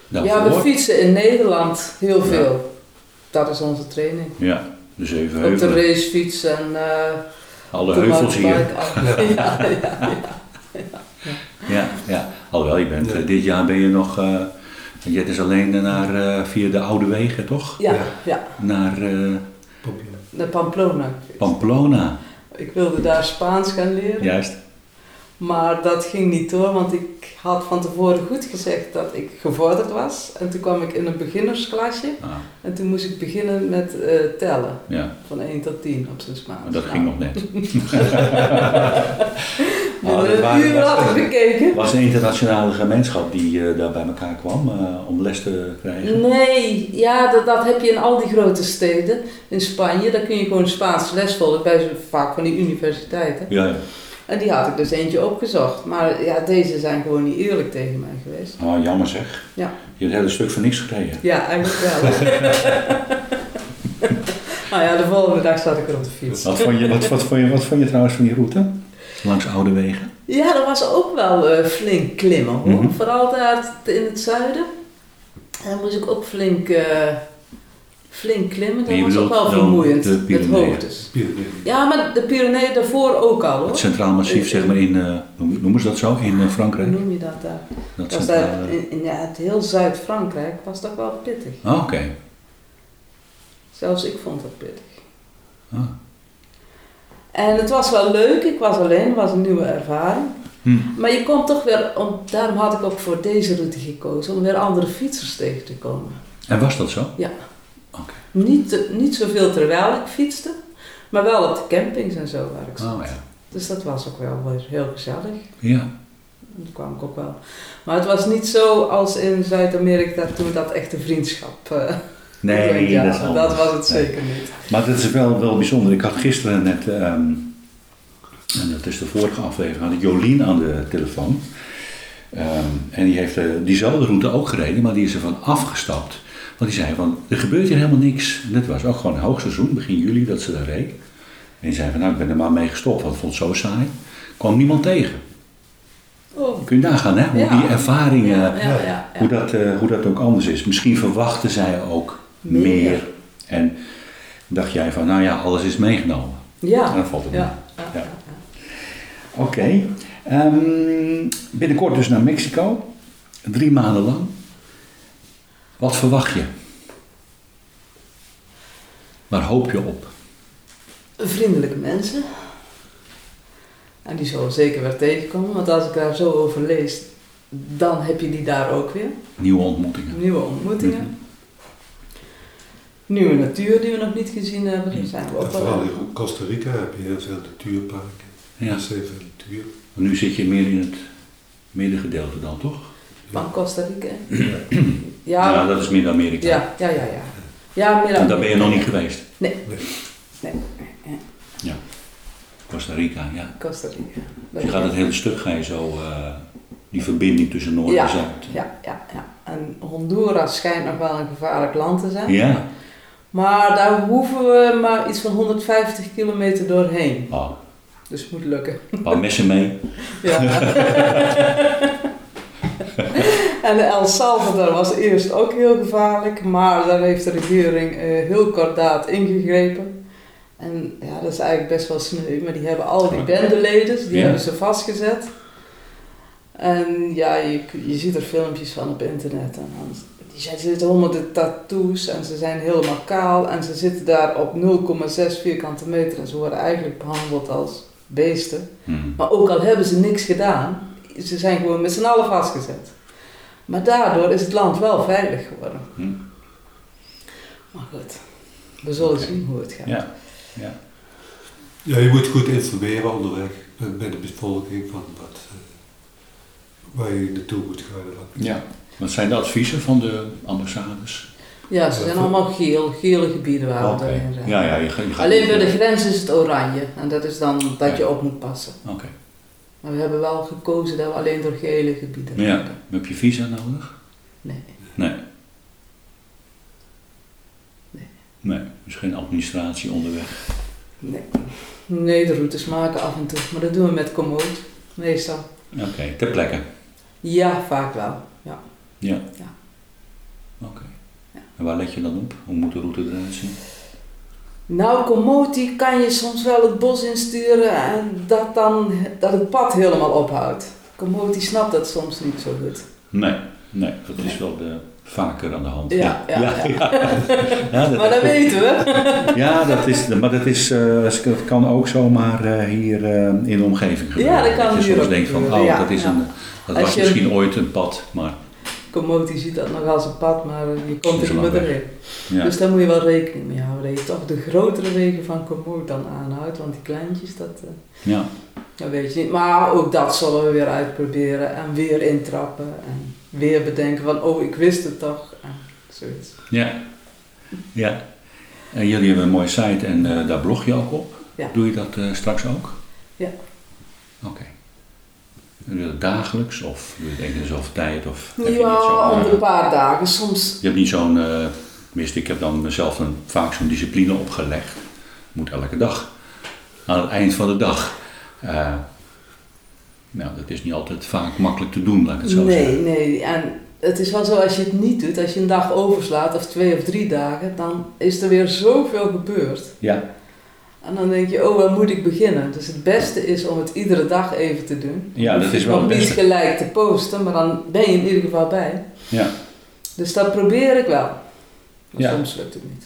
B: Ja, we
A: Daarvoor.
B: fietsen in Nederland heel
A: Nou, Ja.
B: veel. Dat is onze training.
A: Ja, dus even
B: Op de
A: heuvelen.
B: racefiets en eh
A: Alle
B: op de
A: heuvels hier. [laughs]
B: mountainbike. Ja, ja, ja.
A: Ja, ja. Alhoewel, je bent,
C: Ja.
A: eh, dit jaar ben je nog. eh het is alleen naar, eh, via de oude wegen, toch?
B: Ja,
C: Ja.
B: ja,
A: Naar eh,
C: Populair.
B: naar Pamplona.
A: Pamplona.
B: Ik wilde daar Spaans gaan leren,
A: Juist.
B: maar dat ging niet door, want ik had van tevoren goed gezegd dat ik gevorderd was. En toen kwam ik in een beginnersklasje
A: Ah,
B: en toen moest ik beginnen met eh, tellen,
A: ja,
B: van 1 tot 10 op zijn Spaans.
A: maar dat
B: Nou,
A: ging nog
B: [laughs]
A: net. Ah,
B: binnen
C: Ah, dat
B: een
C: waren-
B: uur
C: dat
B: had ik
C: waren-
B: gekeken.
A: Was het een internationale gemeenschap die eh, daar bij elkaar kwam eh, om les te krijgen?
B: Mm. Nee, ja, dat, dat heb je in al die grote steden. In Spanje, daar kun je gewoon Spaans les volgen bij zo- vaak van die universiteiten.
A: Ja, ja.
B: En die had ik dus eentje opgezocht. Maar ja, deze zijn gewoon niet eerlijk tegen mij geweest.
A: Ah, jammer zeg.
B: Ja.
A: Je hebt een hele stuk voor niks gekregen.
B: Ja, eigenlijk wel.
A: [laughs]
B: nou ja, de volgende dag zat ik er op de fiets.
A: Wat vond je, wat, wat vond je, wat vond je trouwens van die route? Langs oude wegen?
B: Ja, dat was ook wel eh, flink klimmen hoor.
A: Mhm.
B: Vooral daar t- in het zuiden. Daar moest ik ook flink, eh, flink klimmen. Dat
A: Je
B: was ook
A: bedoelt
B: wel
A: dan
B: vermoeiend.
A: de
B: met
A: Pyreneeën?
B: hoogtes.
C: Pyreneeën.
B: Ja, maar de Pyreneeën daarvoor ook al hoor.
A: Het Centraal Massief, zeg maar in, eh, noem- noemen ze dat zo, in eh,
B: Hoe
A: Frankrijk?
B: noem je Mm. dat daar?
A: Dat eh,
B: was daar
A: centrale-
B: in, in ja, het heel Zuid-Frankrijk was dat wel pittig.
A: Ah, oké.
B: Zelfs ik vond dat pittig.
A: Ah.
B: En het was wel leuk, ik was alleen, het was een nieuwe ervaring.
A: Hm.
B: Maar je komt toch weer, om, daarom had ik ook voor deze route gekozen, om weer andere fietsers tegen te komen.
A: En was dat zo?
B: Ja.
A: Oké.
B: Niet, te- niet zoveel terwijl ik fietste, maar wel op de campings en zo waar ik zat.
A: Oh ja.
B: Dus dat was ook wel weer heel gezellig.
A: Ja.
B: Dat kwam ik ook wel. Maar het was niet zo als in Zuid-Amerika toen dat echte vriendschap. eh, [laughs]
A: Nee,
B: ja,
A: dat is anders.
B: was het
A: Nee.
B: zeker niet.
A: Maar dat is wel, wel bijzonder. Ik had gisteren net, ehm, en dat is de vorige aflevering, had ik Jolien aan de telefoon. Ehm, en die heeft eh, diezelfde route ook gereden, maar die is ervan afgestapt. Want die zei van, er gebeurt hier helemaal niks. En dat was ook gewoon hoogseizoen, begin juli, dat ze daar reed. En die zei van, nou, ik ben er maar mee gestopt, want ik vond het zo saai. Kwam niemand tegen.
B: Oh.
A: Kun je nagaan, hè? Hoe
B: Ja.
A: die ervaring, eh,
B: Ja, ja, ja, ja.
A: Hoe, dat, eh, hoe dat ook anders is. Misschien verwachten zij ook meer.
B: Meer.
A: En dacht jij van, nou ja, alles is meegenomen.
B: Ja.
A: Dan valt het
B: Ja, ja,
A: Ja.
B: ja, ja.
A: Oké. Ehm, binnenkort dus naar Mexico. Drie maanden lang. Wat verwacht je? Waar hoop je op?
B: Vriendelijke mensen. En die zullen we zeker weer tegenkomen, want als ik daar zo over lees, dan heb je die daar ook weer.
A: Nieuwe ontmoetingen.
B: Nieuwe ontmoetingen.
A: Mhm.
B: Nieuwe natuur die we nog niet gezien hebben, daar zijn we
C: En
B: ook
C: vooral
B: wel.
C: in Costa Rica heb je heel veel natuurparken.
A: Ja.
C: Er zijn veel natuur.
A: Want Nu zit je meer in het middengedeelte dan, toch?
B: Van Costa Rica.
C: Ja.
B: Ja, ja,
A: dat is Midden-Amerika.
B: ja, ja, ja. ja. Ja, meer
A: En
B: dan-
A: daar ben je nog niet geweest.
B: Nee,
A: Costa Rica, ja.
B: Costa Rica.
A: Dus je gaat het hele stuk, ga je zo, eh, die verbinding tussen Noord en
B: Ja,
A: Zuid.
B: Ja, ja, ja. En Honduras schijnt nog wel een gevaarlijk land te zijn.
A: Ja?
B: Maar daar hoeven we maar iets van 150 kilometer doorheen.
A: Oh,
B: Dus het moet lukken.
A: een paar messen mee.
B: Ja. [laughs] en El Salvador was eerst ook heel gevaarlijk, maar daar heeft de regering eh, heel kordaat ingegrepen. En ja, dat is eigenlijk best wel sneu, maar die hebben al die bendeleden, die
A: Ja.
B: hebben ze vastgezet. En ja, je, je ziet er filmpjes van op internet. En dan, die zijn, zitten allemaal de tattoos en ze zijn helemaal kaal en ze zitten daar op 0,6 vierkante meter en ze worden eigenlijk behandeld als beesten.
A: Hm.
B: Maar ook al hebben ze niks gedaan, ze zijn gewoon met z'n allen vastgezet. Maar daardoor is het land wel veilig geworden.
A: Hm.
B: Maar goed, we zullen
A: Oké.
B: zien hoe het gaat.
A: Ja.
C: Ja, je moet goed informeren onderweg eh, bij de bevolking van wat, eh, waar je naartoe moet gaan. en wat niet.
A: ja. Wat zijn de adviezen van de ambassades?
B: Ja, ze zijn allemaal geel, gele gebieden waar we
A: Oké.
B: doorheen rijden.
A: Ja, ja, je, ga- je gaat eh,
B: Alleen bij de grens is het oranje en dat is dan dat je
A: Ja.
B: op moet passen.
A: Oké.
B: Maar we hebben wel gekozen dat we alleen door gele gebieden
A: Ja.
B: rijden.
A: Heb je visa nodig?
B: Nee.
A: Nee.
B: Nee.
A: Nee, dus geen administratie onderweg.
B: Nee. nee, de routes maken af en toe, maar dat doen we met commode, meestal.
A: Oké, ter plekke.
B: Ja, vaak wel. Ja.
A: Ja.
B: Ja.
A: Oké.
B: Ja.
A: En waar let je dan op? Hoe moet de route eruit zien?
B: Nou, Komoti kan je soms wel het bos insturen en dat dan dat het pad helemaal ophoudt. Komoti snapt dat soms niet zo goed.
A: Nee, nee, dat is wel de, vaker aan de hand.
B: Ja, ja, ja.
A: Ja, dat,
B: Maar dat weten
A: [laughs]
B: we.
A: ja, dat is, maar dat, is, eh, dat kan ook zomaar eh, hier eh, in de omgeving gebeuren.
B: dat kan
A: je
B: hier
A: soms
B: ook
A: denkt van, oh,
B: gebeuren, ja,
A: dat, is
B: ja.
A: een, dat
B: Als
A: was
B: je-
A: misschien ooit een pad, maar
B: Komoti ziet dat nog als een pad, maar eh, je komt
A: Is
B: er
A: een
B: niet meer
A: lange
B: doorheen.
A: ja.
B: Dus daar moet je wel rekening mee houden. Dat je toch de grotere wegen van Komoti dan aanhoudt, want die kleintjes, dat, eh,
A: ja.
B: dat weet je niet. Maar ook dat zullen we weer uitproberen en weer intrappen en weer bedenken van, oh, ik wist het toch. En zoiets.
A: Ja, ja. En jullie hebben een mooie site en eh, daar blog je ook op.
B: Ja.
A: Doe je dat eh, straks ook?
B: Ja.
A: Oké. En Doe je dat dagelijks of doe je het één keer in zoveel tijd? Of heb je niet
B: Ja,
A: zo'n,
B: om
A: eh,
B: de paar dagen. Soms
A: je hebt niet zo'n, eh, tenminste ik heb dan mezelf een, vaak zo'n discipline opgelegd. Moet elke dag. Aan het eind van de dag. Eh, nou, dat is niet altijd vaak makkelijk te doen, laat ik het zo
B: Nee,
A: zeggen.
B: nee. En het is wel zo, als je het niet doet, als je een dag overslaat of twee of drie dagen, dan is er weer zoveel gebeurd.
A: Ja,
B: En dan denk je, oh, waar moet ik beginnen? Dus het beste is om het iedere dag even te doen.
A: ja dat is wel
B: Om
A: het
B: niet
A: beste.
B: gelijk te posten, maar dan ben je in ieder geval bij.
A: Ja.
B: Dus dat probeer ik wel. Maar
A: Ja.
B: soms lukt het niet.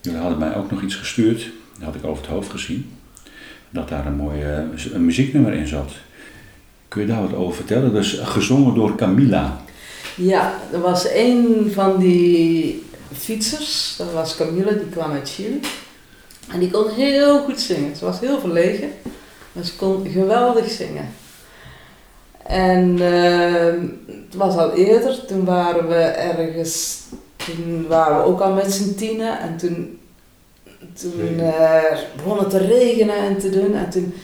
A: Jullie hadden mij ook nog iets gestuurd, dat had ik over het hoofd gezien, dat daar een mooi eh, een muzieknummer in zat. Kun je daar wat over vertellen? Dus gezongen door Camilla.
B: Ja, er was een van die fietsers, dat was Camille, die kwam uit Chili. En die kon heel goed zingen. Ze was heel verlegen, maar ze kon geweldig zingen. En ehm, het was al eerder, toen waren we ergens, toen waren we ook al met z'n tienen en toen, toen
C: Regen.
B: eh, begon het te regenen en te doen. En toen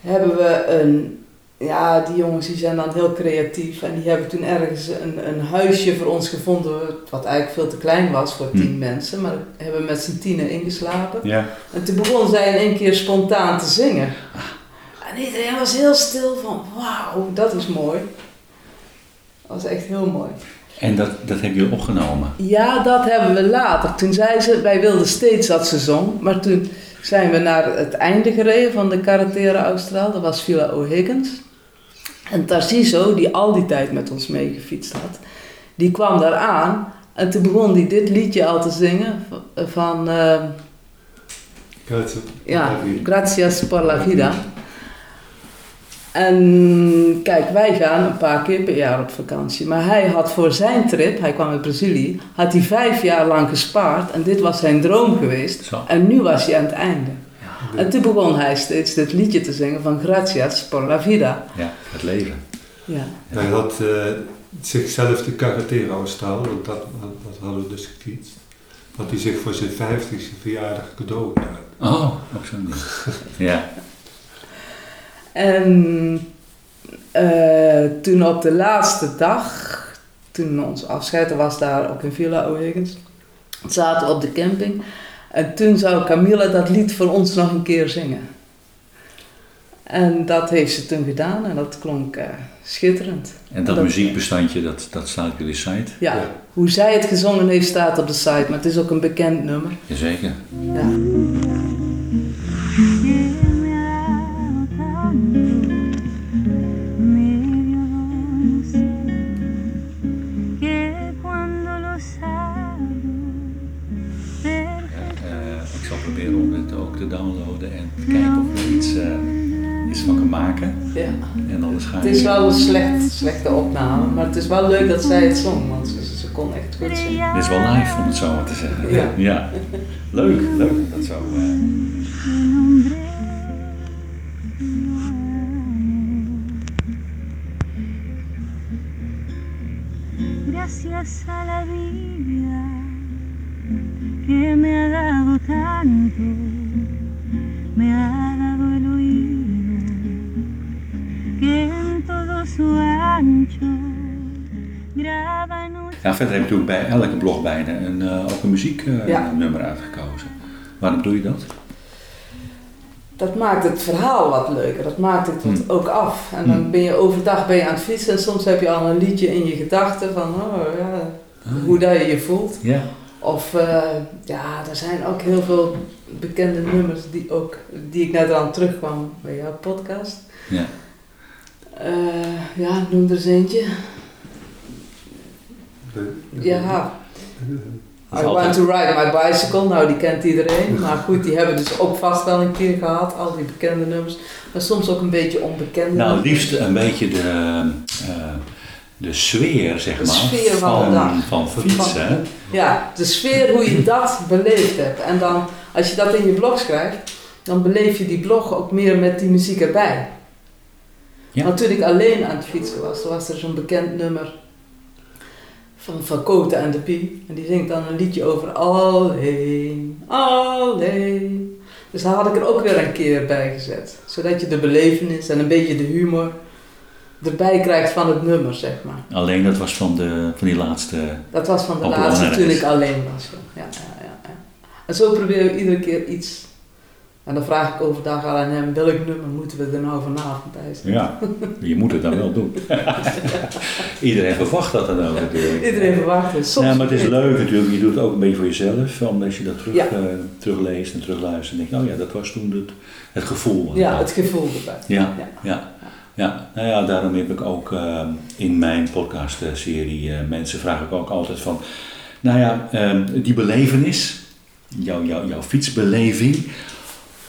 B: hebben we een, ja die jongens die zijn dan heel creatief en die hebben toen ergens een, een huisje voor ons gevonden wat eigenlijk veel te klein was voor
A: Hm.
B: tien mensen. Maar hebben we met z'n tienen ingeslapen.
A: Ja.
B: En toen begon zij in één keer spontaan te zingen. En iedereen was heel stil van, wauw, dat is mooi. Dat was echt heel mooi.
A: En dat, dat hebben jullie opgenomen.
B: Ja, dat hebben we later. Toen zei ze, wij wilden steeds dat ze zong. Maar toen zijn we naar het einde gereden van de Carretera Austral. Dat was Villa O'Higgins. En Tarciso, die al die tijd met ons meegefietst had, die kwam daar ehm, aan. En toen begon hij dit liedje al te zingen van... eh,
C: Grazie.
B: Ja,
C: Dank u.
B: gracias por la vida. En kijk, wij gaan een paar keer per jaar op vakantie. Maar hij had voor zijn trip, hij kwam uit Brazilië, had hij vijf jaar lang gespaard. En dit was zijn droom geweest.
A: Zo.
B: En nu was hij aan het einde. En toen begon hij steeds dit liedje te zingen van Gracias por la vida.
A: Ja, het leven.
B: Ja,
C: Hij had eh, zichzelf de carretera austraal, want dat, dat hadden we dus gekietst. Had hij zich voor zijn 50ste verjaardag cadeau gedaan.
A: Oh, op zo'n ding. Ja.
B: En Ehm, eh, toen op de laatste dag, toen ons afscheid er was daar op in Villa O'Higgins, zaten we op de camping. En toen zou Camilla dat lied voor ons nog een keer zingen. En dat heeft ze toen gedaan en dat klonk eh, schitterend.
A: En dat muziekbestandje, dat, dat staat op jullie site.
B: Ja, hoe zij het gezongen heeft staat op de site, maar het is ook een bekend nummer.
A: Jazeker.
B: Ja.
E: medio dulce que cuando lo sabes
A: Eh, ik zal proberen om het ook te downloaden en te kijken of er iets, eh, iets van kan maken.
B: Ja.
A: En alles ga
B: Het is wel een slecht, slechte opname, maar het is wel leuk dat zij het zong, want ze, ze kon echt goed zingen.
A: Dit is wel live, om het zo maar te zeggen.
B: Ja.
A: Leuk, leuk. Dat zo. eh,
E: tu nombre Joel. gracias a la vida que me ha dado tanto me ha dado el oído que en todo su ancho graba en un
A: Ja, verder heb je natuurlijk bij elke blog bijna een, eh, ook een muzieknummer
B: Ja.
A: uitgekozen. Waarom doe je dat?
B: dat maakt het verhaal wat leuker. Dat maakt het wat
A: Hmm.
B: ook af. En dan ben je overdag ben je aan het fietsen en soms heb je al een liedje in je gedachten van oh, ja, hoe dat je je voelt.
A: Ja.
B: Of eh, ja, er zijn ook heel veel bekende nummers die, ook, die ik net aan terugkwam bij jouw podcast.
A: Ja.
B: Eh, ja, noem er eens eentje. Ja,
C: Eh,
B: I want to ride my bicycle. Nou, die kent iedereen. Maar goed, die hebben dus ook vast wel een keer gehad. Al die bekende nummers. Maar soms ook een beetje onbekende
A: Nou,
B: nummers.
A: liefst een beetje de, eh, de sfeer, zeg
B: De
A: maar,
B: sfeer van de
A: van,
B: dag.
A: van fietsen. hè?
B: Ja, de sfeer hoe je dat beleefd hebt. En dan, als je dat in je blog schrijft, dan beleef je die blog ook meer met die muziek erbij.
A: Ja.
B: Want toen ik alleen aan het fietsen was, toen was er zo'n bekend nummer van Van Koten en de Pie. En die zingt dan een liedje over alleen, alleen. Dus daar had ik er ook weer een keer bij gezet. Zodat je de belevenis en een beetje de humor erbij krijgt van het nummer, zeg maar.
A: Alleen dat was van, de, van die laatste.
B: Dat was van de
A: Ook
B: laatste
A: belangrijk.
B: toen ik alleen was. Ja. Ja, ja, ja, ja. En zo probeer ik iedere keer iets. En dan vraag ik overdag al aan hem, welk nummer moeten we er nou vanavond bij zetten?
A: Ja, [laughs] je moet het dan wel [laughs] doen. Iedereen verwacht dat dan ook natuurlijk.
B: Iedereen verwacht het. Soms
A: Ja, maar het is leuk natuurlijk. Je doet het ook een beetje voor jezelf. Omdat je dat terug,
B: Ja.
A: eh, terugleest en terugluistert. En denk je, oh ja, dat was toen het, het gevoel.
B: Ja, het gevoel erbij.
A: Ja,
B: Ja.
A: ja. ja. Nou ja, daarom heb ik ook eh, in mijn podcastserie eh, mensen vraag ik ook altijd van, nou ja, eh, die belevenis, jouw, jouw, jouw fietsbeleving,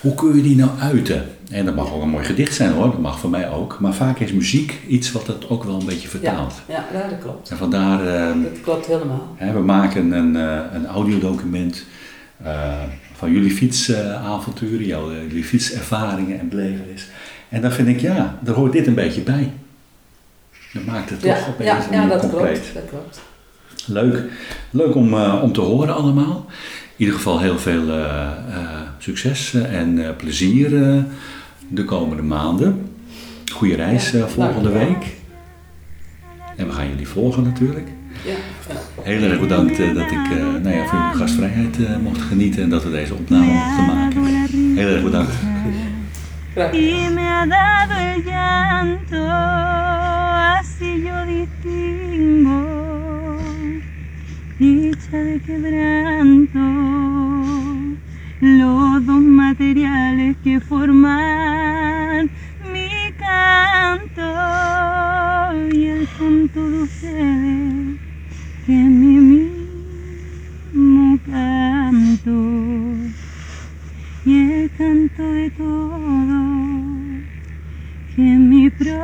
A: hoe kun je die nou uiten? En dat mag ook een mooi gedicht zijn hoor, dat mag voor mij ook. Maar vaak is muziek iets wat dat ook wel een beetje
B: Ja,
A: vertaalt.
B: ja, ja, dat klopt.
A: En vandaar eh,
B: Dat klopt helemaal.
A: Hè, we maken een, eh, een audiodocument eh, van jullie fietsavonturen, jouw, eh, jullie fietservaringen en belevenis. En dan vind ik, ja, daar hoort dit een beetje bij. Dat maakt het
B: Ja,
A: toch op een
B: ja,
A: of andere
B: ja,
A: manier
B: dat
A: compleet.
B: klopt. Dat klopt.
A: Leuk, leuk om, eh, om te horen allemaal. In ieder geval heel veel eh, eh, succes en eh, plezier eh, de komende maanden. Goede reis
B: Ja,
A: eh, volgende
B: dankjewel.
A: week. En we gaan jullie volgen natuurlijk.
B: Ja, ja.
A: Heel erg bedankt eh, dat ik eh, nou ja, van jullie gastvrijheid eh, mocht genieten en dat we deze opname mochten maken. Heel erg bedankt.
B: Graag gedaan.
E: y me ha dado el llanto, así yo distingo dicha de quebranto, los dos materiales que forman mi canto y el canto de ustedes que es mi mismo canto. Y tanto de todo que en mi propio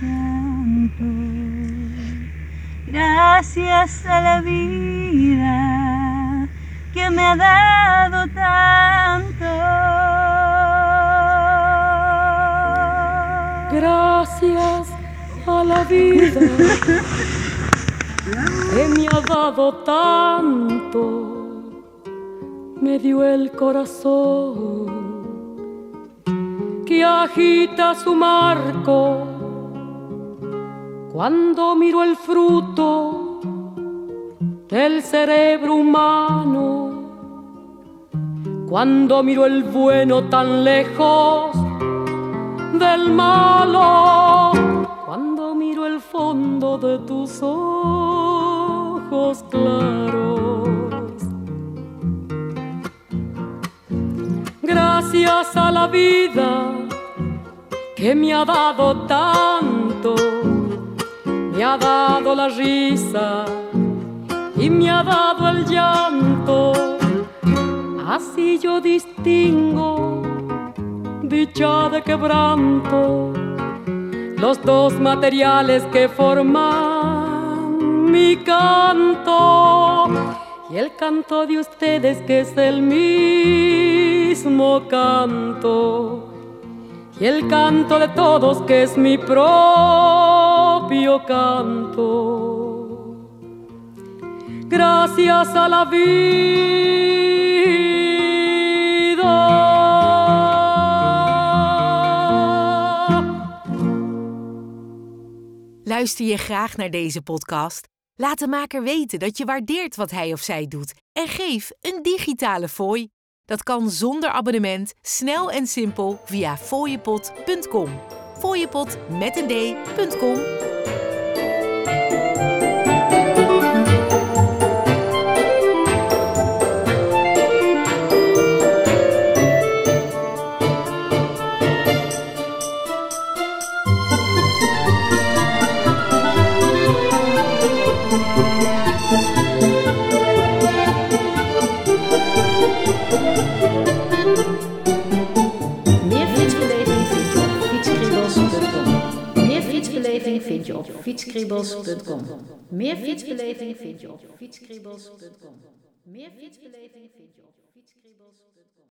E: canto. Gracias a la vida que me ha dado tanto.
F: Gracias a la vida que me ha dado tanto, me dio el corazón que agita su marco. Cuando miro el fruto del cerebro humano, cuando miro el bueno tan lejos del malo. Cuando miro el fondo de tus ojos claros. Gracias a la vida que me ha dado tanto, me ha dado la risa y me ha dado el llanto. Así yo distingo dicha de quebranto, los dos materiales que forman mi canto y el canto de ustedes que es el mismo canto y el canto de todos que es mi propio canto. Gracias a la vida.
G: Luister je graag naar deze podcast? Laat de maker weten dat je waardeert wat hij of zij doet en geef een digitale fooi. Dat kan zonder abonnement, snel en simpel via fooiepot.com. Fooiepot met een d.com.
H: Meer fietsbeleving vind je op fietskriebels.com. Meer fietsbeleving vind je op fietskriebels.com. Meer fietsbeleving vind je op fietskriebels.com. Meer fietsbeleving vind je op fietskriebels.com.